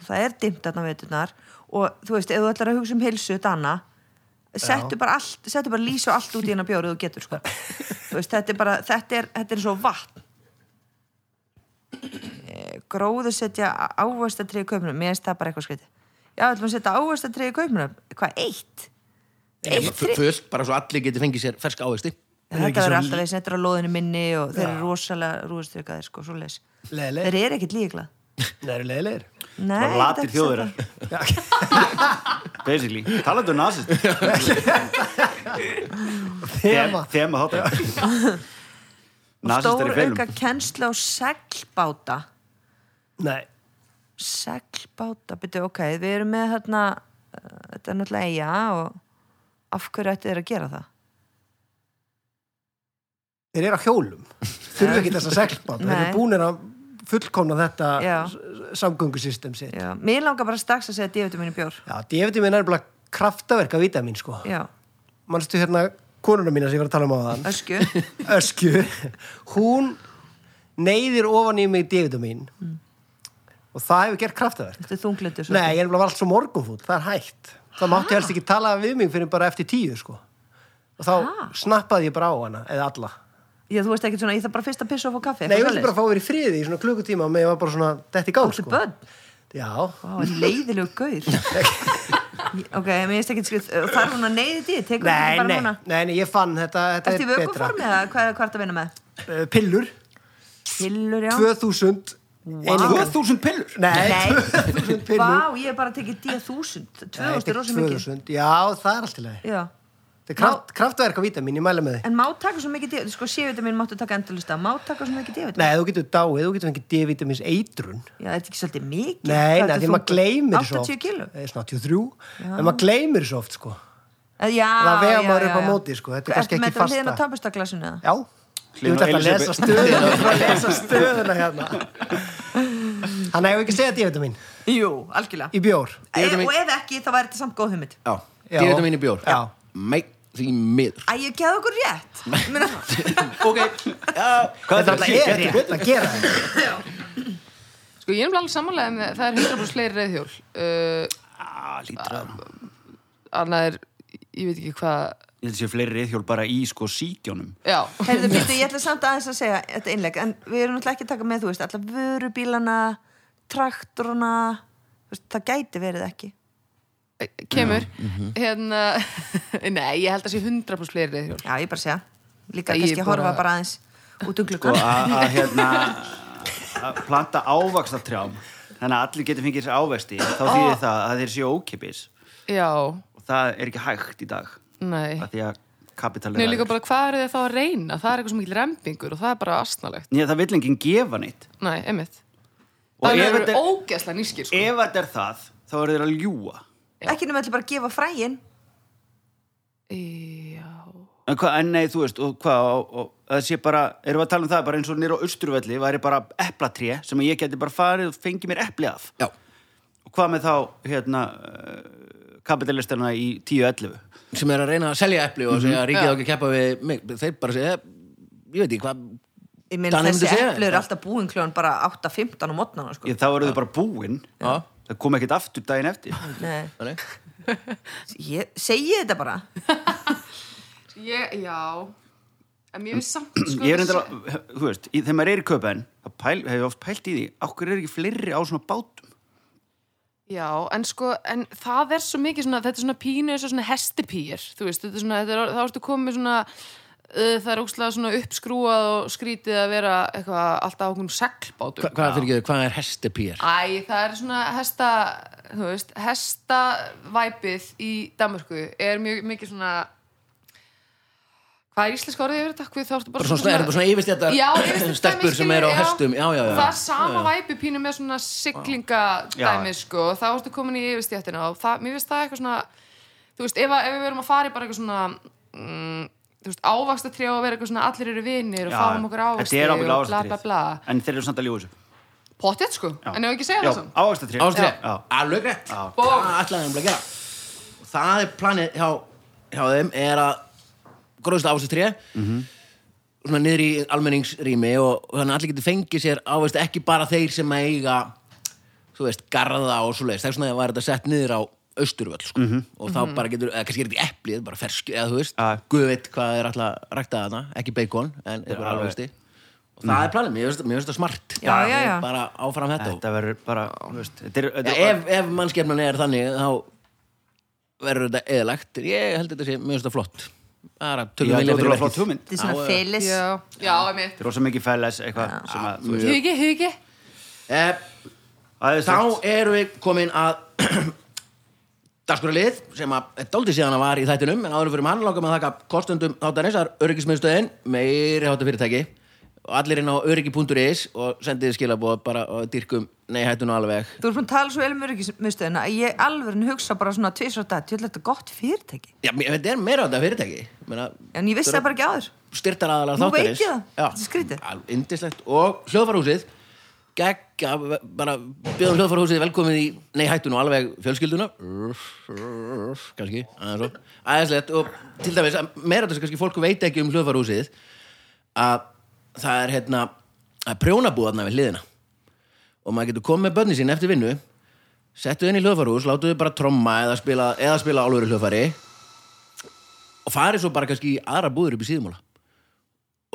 B: og það er dimmt þarna á veturnar og þú veist, ef þú ætlar að hugsa um heilsu dana, settu bara allt settu bara lýs og allt út í hennar bjór ef þú getur sko. þú veist, þetta er bara þetta er, þetta er svo vatn Eh, gróður setja ávastatrið í kaupnum, mér finnst það bara eitthvað skriti já, ætlum að setja ávastatrið í kaupnum hvað, eitt? eitt
A: F- Fullt, bara svo allir geti fengið sér ferska ávexti.
E: Þeir eru
B: Þetta
E: ekki
B: verður
E: svo
B: alltaf
E: lí-
B: eins nettur á loðinu minni og þeir eru rosalega rúðstrykkaðir sko, svo leis. Þeir
E: leðilegir
B: eru ekkert líklað.
E: þeir eru leðilegir
B: Nei,
C: Bara
B: ég get
C: latir
B: ekki sagt
C: þjóðir
B: það.
C: Basically, talandu um nazist
E: Þema.
C: Þema þáttu Nazist er
B: Stór
C: í
B: auka
C: felum
B: kennsla á seglbáta.
E: nei,
B: Seglbáta, byrju, ok, við erum með þarna, uh, þetta er náttúrulega eiga og af hverju ættu þeir að gera það?
E: þeir eru á hjólum þurfa ekki þess að seglbáta þeir
B: Nei.
E: eru búinir að fullkomna þetta
B: Já.
E: samgöngusystem sitt
B: Já, mér langar bara strax að segja dífutum minni bjór.
E: já, D-vitamin er nefnilega kraftaverk af vitamin sko
B: Já,
E: manstu hérna konuna mína sem ég var að tala um á þann
B: ösku.
E: Öskju hún neyðir ofan í mig D-vitamin og það hefur gert kraftaverk
B: Þetta er þunglindur svo.
E: nei, ég er nefnilega allt svo morgunfúll, það er hægt það mátti helst ekki tala við mig fyrir bara eftir tíu sko. og þá snappaði ég bara á hana eða alla
B: Já, þú veist ekki svona, ég þarf bara fyrst að pissa og fá kaffi.
E: Nei, ég
B: eitthvað
E: vildi bara
B: svoleiðis.
E: fá verið í friði í svona klukkutíma og með ég var bara svona dett í gang sko.
B: Áttu börn?
E: Já,
B: Vá, leiðilegu gaur Ok, mér finnst ekki skrið Þarf hún að neyði því? Tekur
E: nei,
B: hún
E: nei,
B: bara núna?
E: nei, nei, ég fann þetta, þetta
B: Ertu í
E: er betra
B: vökuformi eða hvað er hvart að vinna með?
E: Uh, Pillur,
B: Pillur, já
E: 2000 einingar.
C: 2000 pillur
E: Nei,
B: Nei.
E: 2000 pillur
B: Vá, ég hef bara tekið 10.000
E: Nei,
B: 2000 er rosa mikið
E: 2000, já, það er allt í lagi
B: Já
E: Þetta er kraft, kraftverk á vítamin, ég mæla með því
B: En má taka svo mikið D- Sko, sévita mín máttu taka endalista Má taka svo mikið D-vitamin
E: Nei, þú getur dáið, þú getur fengið D-vitamins eitrun
B: Já, þetta er ekki svolítið mikið
E: Nei,
B: Hvað
E: nei,
B: ertu
E: því
B: þungur?
E: maður gleymir svo
B: 80 kíló
E: Nei, svona 83, en maður gleymir svo oft, sko
B: Eh, Já,
E: Það vegar
B: já,
E: maður
B: já,
E: upp á
B: já.
E: móti, sko, þetta er kannski
B: Ertu
E: ekki
B: með þetta á hliðina á
E: fasta.
B: tapustaklasinu eða?
E: Já, ég vil
C: Hlynur
E: alltaf
C: Elísabet.
E: lesa stöðuna Ég vil að lesa stöðuna hérna Hann hefur ekki segjað D-vitamin
B: Jú, algjörlega
E: í bjór
B: Eh,
A: D-vitamin.
B: Og ef ekki, þá væri þetta samt góð hugmynd
A: Já,
E: Já.
A: dýrðum minni bjór.
E: Já.
A: Mæ, því miður.
B: Æ, ég geði okkur rétt Ég meina-
A: ok, já,
E: Þetta
C: Hvað
E: alltaf er rétt að gera þetta
D: Sko, ég er nefnilega alveg samanlega með það er 100% fleiri reyðhjól. Uh,
C: Ah, lítur að
D: annað er, ég veit ekki hvað,
C: Ég held að sé fleiri reyðhjól bara í sko sítjónum
D: já,
B: Herðu, býttu, ég ætla samt aðeins að segja þetta innleg, en við erum náttúrulega ekki að taka með, þú veist, alla vörubílana, traktoruna, þú veist, það gæti verið ekki.
D: kemur,
A: mhm.
D: hérna, nei, ég held að sé 100% fleiri reyðhjól.
B: Já, ég bara segja, líka
D: Ég
B: kannski að
D: bara-
B: horfa bara aðeins út um
C: sko
B: gluggan.
C: að að, hérna að planta ávaxtatrjám þannig að allir getur fengið sér ávexti þá
E: Ah.
C: þýðir það að þeir séu ókipis
D: Já,
C: og það er ekki hægt í dag
D: nei.
C: að því að kapital
D: Nei,
C: er
D: líka
C: hægur.
D: bara hvað eru þið þá að reyna? Það er eitthvað sem ekki rembingur og það er bara astnalegt.
C: Nei, það vill enginn gefa neitt
D: Nei, einmitt.
C: og
D: Það
C: ef
D: eru
C: þetta er,
D: ógæslega nýskir, sko.
C: ef þetta er það þá eru þeir að ljúa
B: Ekki nema ætla bara að gefa fræin.
D: Já.
C: en, hva, en nei, þú veist, og hvað og, og, það sé bara, erum við að tala um það bara eins og nýra á austurvelli væri bara eplatré sem ég geti bara farið og fengi mér epli af
A: Já,
C: og hvað með þá hérna, eh, kapitalistana í 10-11
A: sem er að reyna að selja epli og segja að ríkið
D: Já.
A: á ekki að keppa við mig þeir bara segja, ég veit ekki hvað
B: Ég meina
A: Danni
B: þessi
A: myndi segja
B: eflur er
A: þetta.
B: alltaf búin kljóðan bara 8.15 á mótnana, sko.
C: Ég, þá eru þau bara búin
A: Já.
C: það kom ekkert aftur daginn eftir
B: Nei,
A: Þannig.
B: ég segi þetta bara.
D: Ég, já. En mér finnst samt, sko.
C: ég er endur að, eh, þú veist, í, þegar maður er í köpen þá pæl, hef ég oft pælt í því okkur er ekki fleiri á svona bátum
D: Já, en sko, en það er svo mikið svona, þetta er svona pínu eins og svona hestipýr, þú veist, þetta er svona, þetta er, þá ertu komið með svona, uh, það er ógstlega svona uppskrúað og skrítið að vera eitthvað alltaf á okkur seglbátum.
A: Hva, hvað, fyrir hvað er hestepýr?
D: Æ, það er svona hesta, þú veist, hestavæpið í Danmörku er mjög mikið svona, hvað er íslenska orðið yfir þetta? Hvað þá ertu bara
A: Bara svona, svona, er bara svona yfirstjættar
D: Já, yfirleitt
A: stelpur
D: dæmi,
A: sem eru á
D: skilurðu,
A: hestum Já, já, já
D: Það er sama væpi pínu með svona siglingadæmi
C: Já.
D: sko, þá ertu komin í yfirstjættina og það, mér finnst það eitthvað svona þú veist, ef, að- ef við verum að fara í bara eitthvað svona mm, þú veist, ávaksta trjá og vera eitthvað svona allir eru vinir og fáum okkur
C: þetta
D: ávaksti
C: er
D: og
C: ábyggilega
D: bla bla bla
C: ávaxtatréð en þeir eru samt að ljóðu þessu
D: Pottjett sko,
C: Já.
D: en ef við ekki segja
C: Já,
D: það samt
C: ávaxtatré
A: Ástríð,
C: Já.
A: alveg rétt
C: Já.
A: Bó. Það ætlaði þeim að gera Og Það er planið hjá, hjá þeim er að gróðsla ástríð mm
C: Mhm.
A: -hmm. svona niður í almenningsrými og og þannig að allir getur fengið sér ávist ekki bara þeir sem eiga þú veist, garða og svo leiðist þess vegna var þetta sett niður á austurvöll sko. og þá bara getur, eða kannski er þetta í eplið bara ferski, eða þú veist,
C: Mhm. Já.
A: guð veit hvað er alltaf ræktað þarna, ekki beikon en eitthvað
C: alveg.
A: alvegsti og það er planið, mér finnst- mér finnst þetta smart
B: Já,
A: Það
B: já,
A: er
B: já.
A: bara áfram þetta, þetta
C: Mhm. þetta verður bara, þú veist þetta er,
A: Já,
C: þetta er,
A: ef, ef mannskjarnan er þannig þá verður þetta eðalagt ég held þetta sé mjög stað flott bara
C: Já,
A: tölum
C: þetta
A: vilja fyrir
C: er ótrúlega flott
A: verkið.
C: hugmynd
B: Þetta er svona
A: Já, já.
B: félis.
D: Já, já, emitt
C: þetta er rosa mikið fæles eitthvað sem að, þú veist,
D: Hugi, hugi
A: Eh,
C: aðeins
A: þá erum við komin að dagskuralið sem að dóldi síðan að var í þættinum en áður fyrir mann langar með að þakka kostundum þáttanins það er öryggismiðstöðin meiri hátta fyrirtæki og allir inn á öryggi.is og sendið skilabóð bara og dyrkum nei hættun og alveg
B: Þú erum búin að tala svo vel um öryggismiðstöðina að ég alveg hugsa bara svona tvisra dag, tjóðlega þetta er gott fyrirtæki.
A: já, mér- þetta er meira hátta fyrirtæki Meina,
B: En ég vissi
A: Þú-
B: það bara ekki áður.
A: styrtar aðalega
B: Nú
A: þáttarins
B: veit ég það.
A: Já.
B: Þetta er skrítið.
A: Al- Yndislegt og hljóðfarhúsið gegga, bara bjöðum hljóðfarhúsið velkomið í, nei hættu nú alveg fjölskylduna kannski, aðeins og aðeinslegt og til dæmis, að meira þess að kannski fólk veit ekki um hljóðfarhúsið að það er hérna að prjónabúðarna við hliðina og maður getur komið með börni sín eftir vinnu settu þau inn í hljóðfarhús, látu þau bara tromma eða spila, eða spila álveru hljóðfari og farið svo bara kannski í aðra búður upp í síðumóla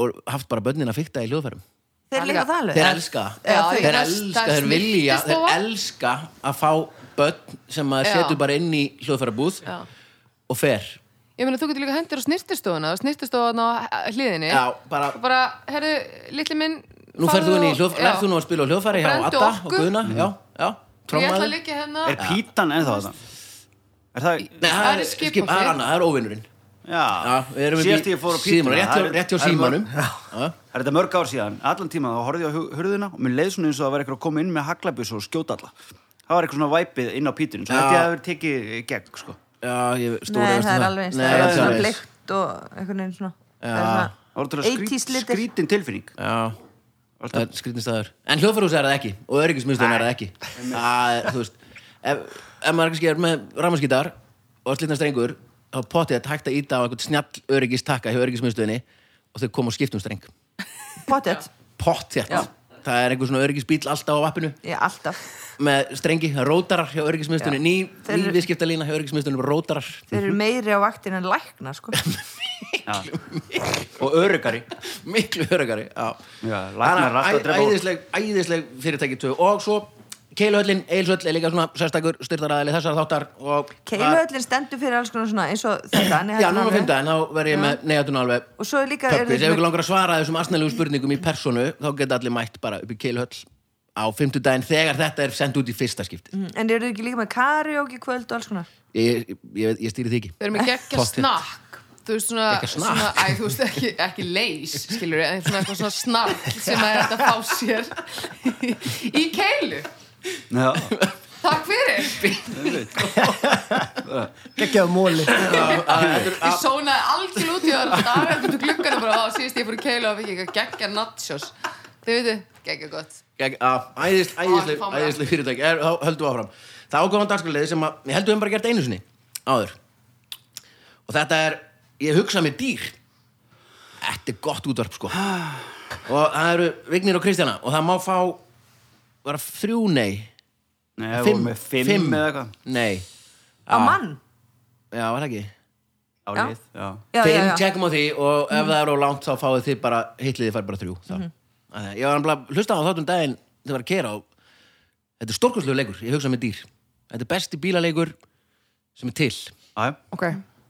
A: og haft bara börnin að fykta í hljóðfærum
B: Þeir
D: Það
B: líka
D: líka-
B: það alveg.
A: þeir elska
B: Já,
A: það.
B: þau-
A: þeir
D: það er-
A: elska,
D: það er
A: þeir vilja þeir
D: snyrtistofa.
A: elska að fá börn sem maður
D: Já.
A: setur bara inn í hljóðfærabúð
D: Já.
A: og fer
D: Ég meina, þú getur líka hendur á snirtistofuna snirtistofuna á hliðinni
A: Já, bara-
D: Og bara, herru, litli minn
A: nú ferð þú inn í hljóðfæri, lærð þú nú að spila á hljóðfæri hjá
D: Brenndu
A: Adda og
D: orku.
A: Guðna já, já,
D: Ég ætla
A: trommaðu
D: að
A: Nei,
D: liggja hérna
C: er pítan ennþá það er það,
A: það er
D: skip
A: skip,
D: og
A: skip það
D: fleiri.
A: er annað, það er óvinnurinn Já, við
C: já
A: erum upp í
C: síðast ég fór á
A: símanum,
C: pítuna
A: rétt hjá-
C: það er-
A: rétt hjá
C: það er mörg-
A: símanum Já.
C: Það er þetta mörg ár síðan, allan tíma þá horfði ég á hu- hurðina og mér leið svona eins og það var eitthvað að koma inn með haglabjus og skjóta alla. Það var eitthvað svona væpið inn á pítunum, svo
A: Já.
C: þetta ég að það verið tekið í gegn, sko.
A: já, ég stóri
B: Nei,
A: veist
B: það
A: um
B: er alveg eins.
A: Nei,
B: Það
A: það
B: er
A: er
B: svona
A: alveg eins.
B: bleikt og einhvern veginn svona. Það
A: Já.
C: Það var
B: er
C: þetta
B: svona 80s
C: skrít,
B: litir.
C: skrítin tilfinning.
A: já, það er skrýtni staður en hljóðfærhús er það ekki og öryggismiðstöðin er það ekki það er, þú veist ef, ef maður kannski er með ramaskítar og slitna strengur þá potið að takta íta á eitthvað snjall um öryggistakka hjá öryggismiðstöðinni og þau koma og skiptum streng
B: Pottet.
A: potið
B: Já.
A: og það er einhver svona öryggisbíl alltaf á appinu
B: Já, alltaf.
A: með strengi, rótarar hjá öryggismistunni ný, ný
B: Þeir eru-
A: viðskiptalína hjá öryggismistunni rótarar
B: Þeir eru meiri á vaktin en lækna, sko.
C: og örugari
A: miklu örugari já.
C: Já, læknar er alltaf að
A: Þannig að
C: drepa
A: æ-
C: fólk.
A: æðisleg, æðisleg fyrirtæki tvö og svo Keiluhöllin, Eilshöll er líka svona sérstakur styrtaræðili þessar þáttar og
B: Keiluhöllin stendur fyrir alls konar svona eins og þetta. nei,
A: Já,
B: þetta er
A: núna
B: alveg.
A: fynda, en þá verð ég með neyðatun alveg
B: Og svo er hérna. líka... eru
A: Pöppis,
B: þeir
A: ef ykkur
B: með-
A: langar að svara þessum asnælegu spurningum í personu þá geta allir mætt bara upp í Keiluhöll á fimmtudaginn þegar þetta er sendt út í fyrsta skipti
B: Mm, En eru þeir ekki líka með karaoke kvöld og alls konar?
A: Ég, ég, ég, ég stýri því ekki
D: Við erum ekki ekki
A: Pottþétt.
D: snakk Þú veist svona,
A: Geggja Eh, snakk.
D: svona æ, þú veist, ekki, ekki leys skilur en svona eitthvað svona snarl sem að þetta fá sér í keilu
C: Já,
D: Takk fyrir,
E: geggjaðu móli
D: ég sónaði algjör út í það dagar eftir gluggana bara á síðust ég fór í keilu og fikk ekki að geggja nachos Þau veitu, geggja gott
A: Gegn- á, æðis- Æðisleg
D: Ó, fá mér.
A: æðisleg fyrirtæki er, þá höldum við áfram það ákvæðan dagskalið sem að, ég held við höfum bara gert einu sinni áður og þetta er, ég hugsa mér dýr þetta er gott útvarp sko og það eru Vignir og Kristjana og það má fá var það þrjú nei
C: Nei, við vorum með fimm, eða eitthvað
A: nei, Ah.
B: Á mann?
A: já var það ekki
C: á
B: Já.
C: lið já.
B: Já, já,
A: fimm,
B: já.
A: tjekkum á því og ef það er á langt þá fáið þið bara, hitliði fær bara þrjú mm ég var nefnilega, hlusta á þáttum daginn þið var að kera og þetta er stórkurslegu leikur, ég hugsa með dýr þetta er besti bílaleikur sem er til
C: Já,
D: Ok,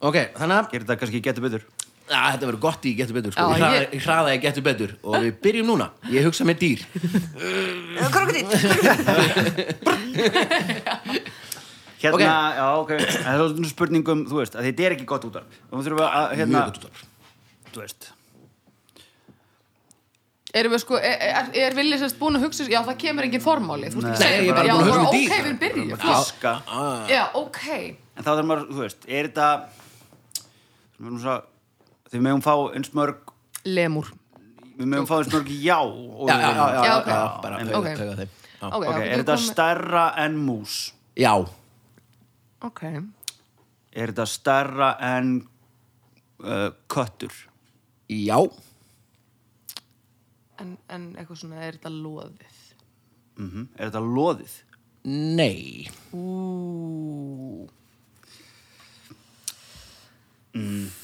A: ok, þannig að,
C: gerir þetta kannski getur betur
A: að þetta verður gott í getur betur sko.
D: Já,
A: ég, hraða,
D: ég-
A: ég hraða ég getur betur og við byrjum núna, ég hugsa með dýr
B: Krokodil?
C: Hérna,
A: Ok.
C: já, ok Það er svona spurningum, þú veist, að þetta er ekki gott útarp og við þurfum að, hérna,
A: mjög gott útvarp
C: þú veist
D: Erum við sko, er, er, er villið sérst búin að hugsa Já, það kemur engin formáli, þú veist
A: Nei,
D: ekki segja
A: ég er bara
D: Já,
A: búin að hugsa um
D: bara
A: dýr.
D: ok, við byrjum flott.
C: Fiska
D: Já, ok
C: En þá þarf maður, þú veist, er þetta við erum svo við megum fá eins mörg
D: Lemur
C: við megum fá eins mörg já og
A: já, já, já, já,
D: Já,
A: já,
D: ok.
A: já, bara
C: Einmitt.
A: tauga
D: Ok.
A: tauga þeim Já.
D: Ok,
C: Ok,
D: já,
C: er
D: við
C: þetta
D: komum-
C: stærra en mús?
A: já,
D: Ok,
C: Er þetta stærra en uh, köttur?
A: já,
D: en, en eitthvað svona, er þetta loðið?
C: Mm, er þetta loðið?
A: nei
D: Ú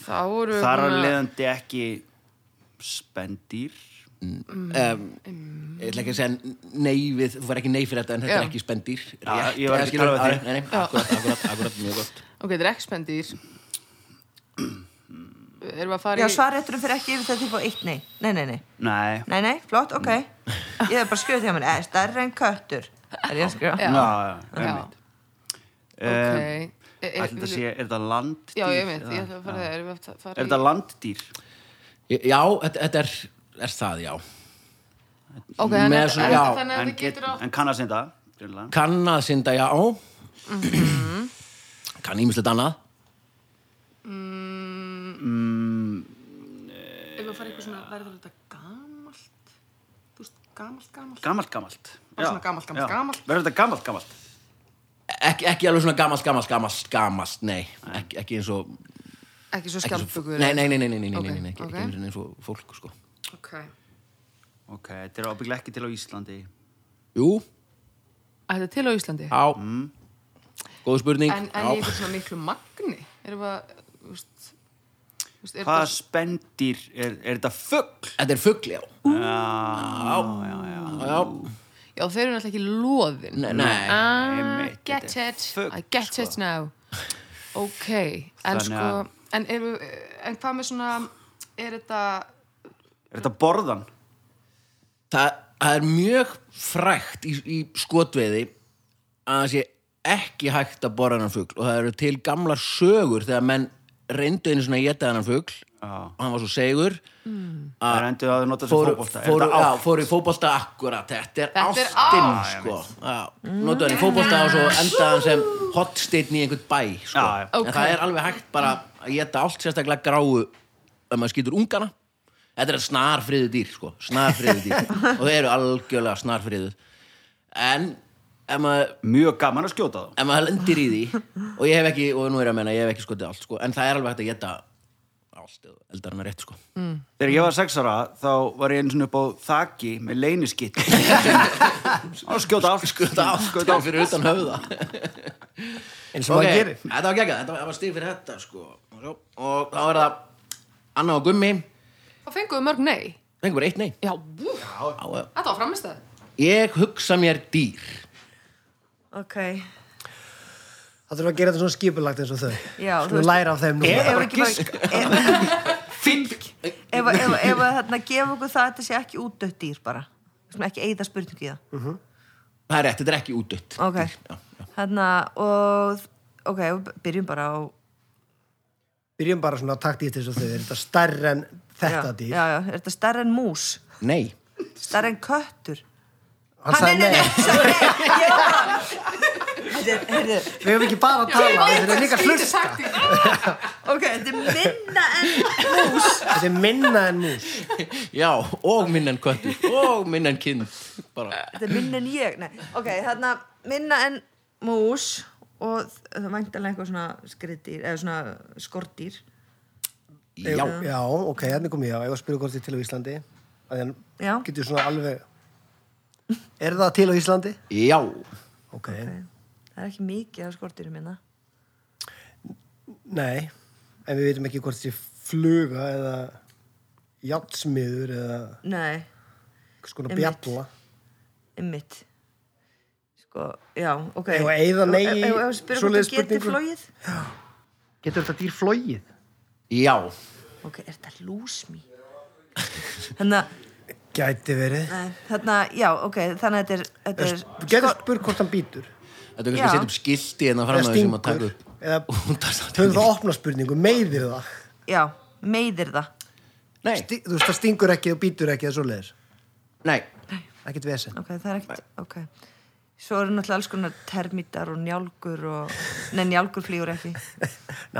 D: Þá voru við
C: Þar að
D: búin að-
C: leiðandi ekki spendýr
A: um, ég ætla ekki að segja nei við, þú var ekki nei fyrir þetta en þetta er
D: Já.
A: ekki spendýr Rétt,
C: Já, ég var
A: eða
C: ekki
A: skilur,
C: að tala við þig.
A: Nei, nei, akkurat, akkurat, akkurat, mjög gott
D: Ok, þetta er ekki spendýr Erum við að fara
B: Já,
D: í
B: svarrétturum fyrir ekki yfir þegar þið fóð eitt nei. Nei, nei, nei.
C: Nei,
B: Nei, nei, flott, ok. Ég er bara skjöð hjá mér. Er stærri en köttur? Er ég að skrifa?
D: Já,
C: já, já,
D: já.
C: einmitt
D: Ok Er- er-
C: Ætli þetta sé, er þetta landdýr?
D: Eh, Já, ég veit, ég
C: eða-
D: ætla að fara það Erum við að fara
C: Er þetta landdýr?
A: Ég- Já, þetta, þetta er, er það, já
D: Ok, þannig
A: með
D: að-
A: svona-
D: en-
A: já,
D: þannig að
C: En,
D: það
C: get,
D: getur átt
C: en kann að senda greinlega.
A: Kann að synda, já
D: Mhm.
A: Kann ímislegt annað
D: Erum við að fara í eitthvað svona, verður þetta gamalt? Þú veist, gamalt, gamalt
C: Gamalt, gamalt
D: Bara svona gamalt, gamalt, gamalt.
C: Verður þetta gamalt, gamalt?
A: Ekki, ekki alveg svona gamalt, gamalt, gamalt, gamalt, nei Ekki, ekki eins og
D: Ekki svo
A: ekki
D: skjaldbökur
A: Nei, nei, nei, nei, nei, nei, nei,
D: Ok,
A: nei, nei, ekki,
D: ok.
A: ekki einu sinni eins og fólk, sko
D: Ok
C: Ok, þetta er ábygglega ekki til á Íslandi
A: Jú,
D: Þetta er til á Íslandi
A: já Góð spurning,
D: en, en í
A: já
D: eitthvað svona miklu magni erum við að þú veist, þú veist, er
C: Hvaða
D: þetta-
C: spendýr? Er, er þetta fugg?
A: Þetta er fugl, já Já, já,
D: já þeir eru náttúrulega ekki loðin
A: Nei, nei.
D: ah,
C: Einmitt,
D: get
C: þetta er
D: it
C: fugl,
D: I get
C: sko.
D: it now ok, en
C: Þannig
D: sko
C: að-
D: en, er, en hvað með svona er þetta
C: Er þetta borðan?
A: það, það er mjög frægt í, í skotveiði að það sé ekki hægt að borra hennan fugl og það eru til gamlar sögur þegar menn reyndu einu svona að geta hennan fugl og hann var svo segur
C: Það er endur að nota sem
A: fóru,
C: fótbolta Er
A: fóru,
C: þetta
A: já,
C: átt?
A: fóru í fótbolta akkurat þetta er
D: Þetta er
A: ástin
D: ást.
A: sko já, notu hann í fótbolta og svo endaði hann sem hotsteinn í einhvern bæ sko.
C: Já, já.
A: en það er alveg hægt bara að geta allt sérstaklega gráu ef maður skýtur ungana þetta er snarfriðu dýr sko. snarfriðu dýr og þau eru algjörlega snarfriðu en ef maður
C: Mjög gaman að skjóta þá
A: ef maður lendir í því og ég hef ekki, og nú er ég að menna, ég hef ekki skotið allt sko, en það er alveg hægt að geta allt eldar hann rétt sko
C: Þegar ég var sex ára þá var ég einu svona upp á þaki með leyniskitt og skjóta allt
A: skjóta á skjóta á fyrir utan höfða
E: eins og
A: ok,
E: maður gerir
A: þetta var geggjað, þetta var- það var stig fyrir þetta sko og svo- og þá er það Anna og Gummi
D: Þá fengum við mörg nei.
A: fengum bara eitt nei
D: Já, bú,
A: á, eh,
D: þetta var framistæð.
A: ég hugsa mér dýr
B: ok
E: Það þurfum að gera þetta svona skipulagt eins og þau.
B: Já, þú
E: Skulum
B: veist-
E: læra af þeim núna.
B: Ef
E: Ég,
B: ekki bara- ef- Ef að- ef- ef að hérna gefa okkur það að þetta sé ekki útdött dýr bara Svona ekki eigða spurningu í það
A: það er rétt, þetta er ekki útdött
B: Ok.
A: já,
B: Hérna, og ok, við byrjum bara á
E: Byrjum bara svona takt í eins og þau. Er þetta stærra en þetta
B: já,
E: dýr?
B: já, já, er þetta stærri en mús?
A: nei
B: Stærri en köttur?
E: Hann sagði nei.
B: sorry, ég var bara Þetta er- heyrðu,
E: Við höfum ekki bara að tala, við höfum líka að hlusta.
B: Ok, þetta er minna en
E: Þetta er minna en mús.
A: já, og minn en kvöldur og minn en kind bara,
B: Þetta er minna en ég Nei. Ok, þarna minna en mús og það væntalega eitthvað svona skriðdýr eða svona skordýr
A: já,
E: Já, ok, hérna kom ég á. Ég var að spyrja hvort þið er til á Íslandi. Þannig
B: Já.
E: hann getur svona alveg... Er það til á Íslandi?
A: já
E: Ok.
B: Það er ekki mikið af skordýrum hérna. minna
E: Nei. En við veitum ekki hvort þið fluga eða játsmiður eða
B: Nei,
E: hvers konar
B: Einmitt.
E: bjalla.
B: ymmit Sko, já, ok
E: Eigum við að eyða nei
B: Ef-
E: í
B: ef- ef við spyrjum hvort
E: svoleiðis
B: það geti
E: spurningu?
B: flóið
E: Getur þetta dýr flogið?
A: já,
B: Ok, er þetta lúsmi? Þannig að,
E: Gæti verið.
B: þannig að, eh, hérna, já, ok, þannig að þetta er, þetta er
E: Þú getur spurt hvort hann býtur
A: þetta er kannski
B: Já.
A: að setja upp skilti hérna en það fram
E: Eða
A: að þessum að
E: stingur.
A: taka upp
E: Eða-
A: Hún tar samt
E: Höfum
A: ekki-
E: það opna spurningu, meiðir það
B: sko- já, meiðir það.
A: nei,
E: Sti, Þú veist það stingur ekki og býtur ekki eða svoleiðis
A: nei,
E: Ekkert vesen
B: Ok, það er ekkert, ok. Svo eru náttúrulega alls konar termítar og njálgur og, nei, njálgur flýgur ekki.
E: Nei,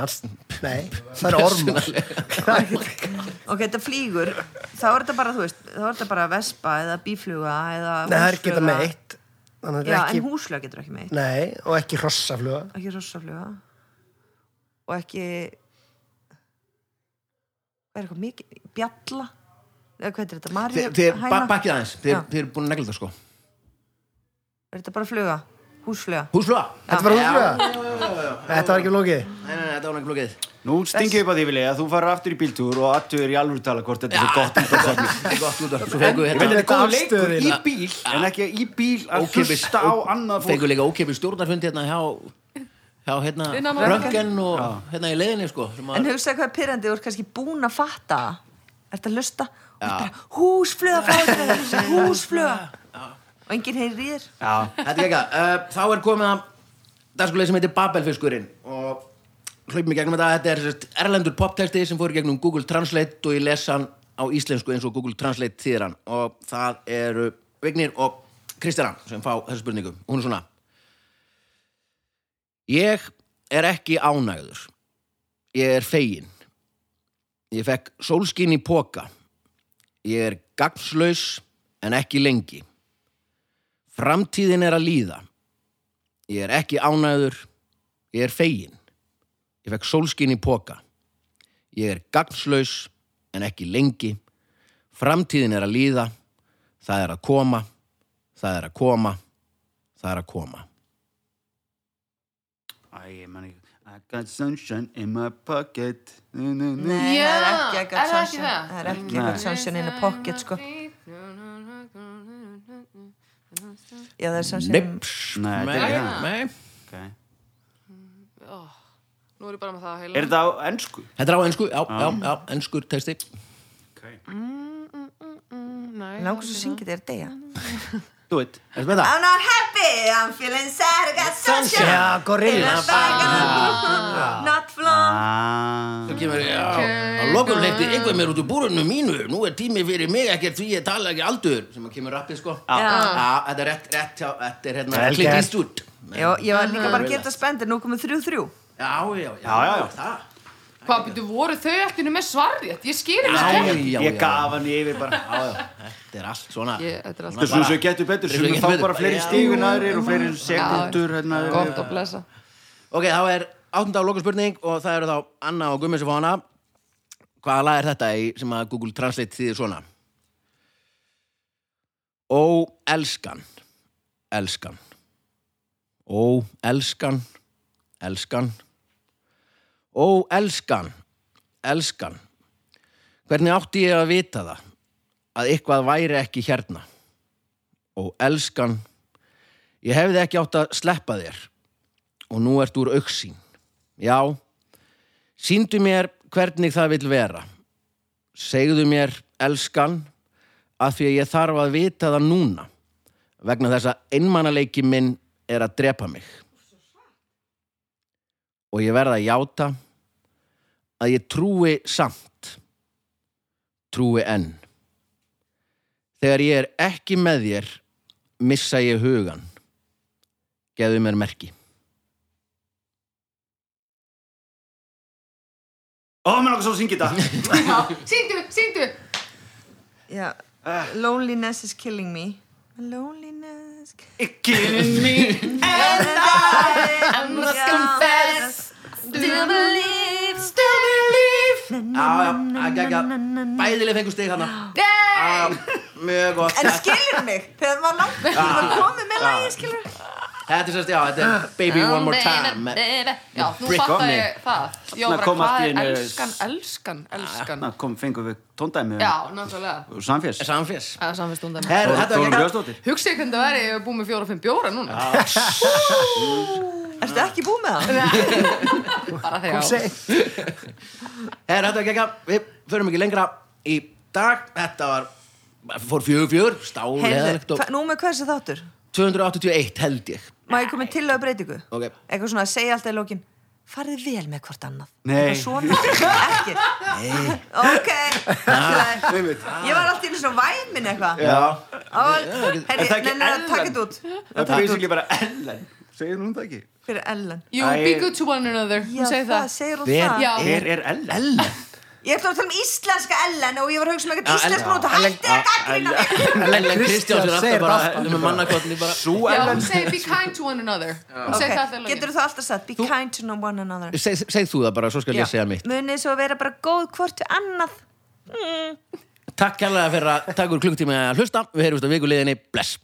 E: hans- Nei, það er ormur Það er ekkert-
B: Ok, þetta flýgur, þá er þetta bara, þú veist, þá er þetta bara vespa eða bífluga eða
E: Nei, það er ekki það
B: húsfluga.
E: meitt Þannig
B: Já,
E: að það er
B: en
E: ekki
B: húsfluga getur ekki meitt.
E: Nei, og ekki hrossafluga
B: Ekki rossafluga. Og ekki, hvað er eitthvað mikið, bjalla? Eða hvað er þetta,
A: þið,
B: Maríu?
A: þið, ba
B: hæna?
A: bakkið aðeins þið,
B: Já.
A: þið eru búin að negla þetta sko
B: Er þetta bara fluga? Húsfluga?
A: húsfluga,
E: Þetta var húsfluga Þetta var ekki flókið
A: nei, nei, nei, þetta var negla glókið
C: Nú stingi upp að því vilja að þú farir aftur í bíltúr og attur í alvöru tala hvort þetta er svo gott útvarpsefni.
A: Þetta er gott út af Svo fengu
C: Ég
A: hérna
C: meina,
E: Þetta
C: þetta er góð
E: afstöðu
C: leikur í
E: þína.
C: bíl en ekki í bíl að
A: ókeypis-
C: hlusta á annað fólk
A: Fengu líka ókipi stjórnarfundi hérna hjá hjá hérna
D: Iðnaðarmann-
A: röggen og hérna í leiðinni sko sem
B: En
A: að
B: hugsaðu hvað er pyrrandi, þú ert kannski búin að fatta það Ert að hlusta og bara húsfluga fáið þér, húsfluga og enginn heyrir í þér
C: Já,
A: Þetta er ekki það Þá er komið að dagskuleg sem heitir Babelfiskurinn og hlaupum í gegnum þetta þetta er sérst, erlendur poptexti sem fór í gegnum Google Translate og ég les hann á íslensku eins og Google Translate þýðir hann og það eru Vignir og Kristjana sem fá þessu spurningu hún er svona Ég er ekki ánægður Ég er fegin Ég fekk sólskín í póka Ég er gagnslaus en ekki lengi Framtíðin er að líða. Ég er ekki ánæður. Ég er fegin. Ég fekk sólskinn í póka. Ég er gagnslaus en ekki lengi. Framtíðin er að líða. Það er að koma. Það er að koma. Það er að koma.
C: Æ, ég man ekki I got sunshine in my pocket nu, nu, nu.
B: Nei,
D: Já,
B: það er ekki
D: er
B: eitthvað
D: það ekki
B: sunshine
D: það?
B: Það er ekki eitthvað sunshine in a pocket sko Já, það er sunshine
A: Nips.
C: Nei, þetta er ekki það.
A: Nei.
C: okay.
D: Nú er ég bara með það á heila.
C: Er þetta á ennsku?
A: Þetta er á ennsku, já, já, já, ennskur texti.
C: Okay.
D: Nei,
B: Langur svo syngið þér að deyja
C: Do it
A: Erstu með það?
B: I'm not happy, I'm feeling sad I got sunshine
E: Já, gorilla
B: Ah. Not flung
C: ah.
A: Svo kemur, já, að lokum leikti einhver mér út úr búrunum mínu. Nú er tími fyrir mig ekkert því ég tala ekki aldur. Sem að kemur rappið, sko.
B: Já.
A: Já, þetta er rétt, rétt hjá, þetta er hérna
E: Vel
A: Clint
E: gert.
A: Eastwood
B: Já, ég var líka bara að geta spendir, nú komið þrjú þrjú
A: Já, já, já,
C: Já, já, já.
A: það
D: Hvað byrju, voru þau allir með svarrétt? Ég skýr
A: Já,
D: ekki.
A: já,
C: Ég
A: já,
C: gaf hann yfir bara
A: já, já, þetta er allt svona
D: Ég- þetta er allt-
C: Þetta er svona sem getur betur
A: Þetta er
C: sem
A: svo
C: þá
A: getur
C: bara
A: betur.
C: fleiri
A: Já.
C: stígun aðrir og fleiri sekundur hérna,
D: Gott að blessa.
A: Ok, þá er áttunda á lokaspurning og það eru þá Anna og Gummi sem fá hana hvaða lag er þetta í, sem að Google Translate þýðir svona? Ó, elskan, elskan. Ó, elskan, elskan. Ó, elskan, elskan. Hvernig átti ég að vita það? Að eitthvað væri ekki hérna. Ó, elskan, ég hefði ekki átt að sleppa þér. Og nú ert úr auksín. Já, síndu mér hvernig það vil vera. Segðu mér, elskan, að því að ég þarf að vita það núna. Vegna þess að einmanaleiki minn er að drepa mig. Og ég verð að játa að ég trúi samt. Trúi enn. Þegar ég er ekki með þér, missa ég hugan. Geðu mér merki.
C: Ó, mér langar svo að syngja þetta
D: Sýndu, sýndu
B: Já, loneliness is killing me Loneliness is
C: It killing me
B: killing me
D: Still believe, still believe
A: Já, já, ekki, ekki, bæðileg fengu stig hana.
D: Yay!
A: Já, Mjög gott.
B: En skilur mig, þegar maður langt maður komið með lagið skilur
A: Þetta er sérst, já, þetta
B: Ah.
A: er Baby One More Time.
D: Já, nú
C: Brick
D: fattar
C: Omni.
D: ég það Já,
C: Þarna
D: bara
C: kom
D: hvað
C: allt í
D: er
C: einu- Ah,
D: elskan, elskan, elskan
C: Ná, kom, fengum við tóndæmi um
D: Já, náttúrulega
C: og samfés
A: Samfés.
D: Það er samfélstundar
A: Herru, þetta var
C: Þórum
A: ekki
C: Björnsdóttir
D: Hugsið hvernig það væri, ef ég hef búið með fjóra-fimm bjóra núna
B: Ertu ekki búið með það?
D: Bara þegar
E: Seg-
A: Herru, þetta var ekki ekki, við förum ekki lengra í dag. Þetta var, fór fjögur fjögur, stálegalegt
B: Heyrðu,
A: og
B: hva- nú með hversu þáttur?
A: 281 held ég.
B: Má ég komið til að breytingu?
A: Ok.
B: Eitthvað svona að segja alltaf í lókin Farðið vel með hvort annað
C: Nei.
B: Eitthvað Svona, ekki Ok, allt í lagi. ég var alltaf í einu svona væmin eitthvað
C: Já, En það er
B: Herri,
C: ekki
B: neina,
C: Ellen.
B: takk þetta út
C: það er basically bara Ellen Segir hún það ekki?
B: Fyrir Ellen
D: You be
C: Æ.
D: good to one another
B: Já,
D: Hún segir
B: það
D: það
B: segir hún
A: Hver
B: það
D: Já,
C: Hver er Ellen? Ellen?
B: Ég ætla að tala um íslenska Ellen og ég var að hugsa um
A: Já,
B: eitthvað íslensk
A: Ellen,
B: nút og hætti að gaggrina mig
A: Ellen Kristjáns er
E: Kristjáns segir
A: alltaf bara
E: alltaf.
A: með mannakotni bara
C: Sú
D: já,
C: Ellen?
D: hún segir be kind to one another Hún segir það
B: okay.
D: þegar
B: Getur
D: lögin
B: þú alltaf sagt Be kind to one another
A: Seg, segð þú það bara, svo skal ég segja mitt
B: Munið svo vera bara góð hvort til annað
A: Takk kærlega fyrir að taka úr klukktíma að hlusta Við heyrjumst á vikuleginni, bless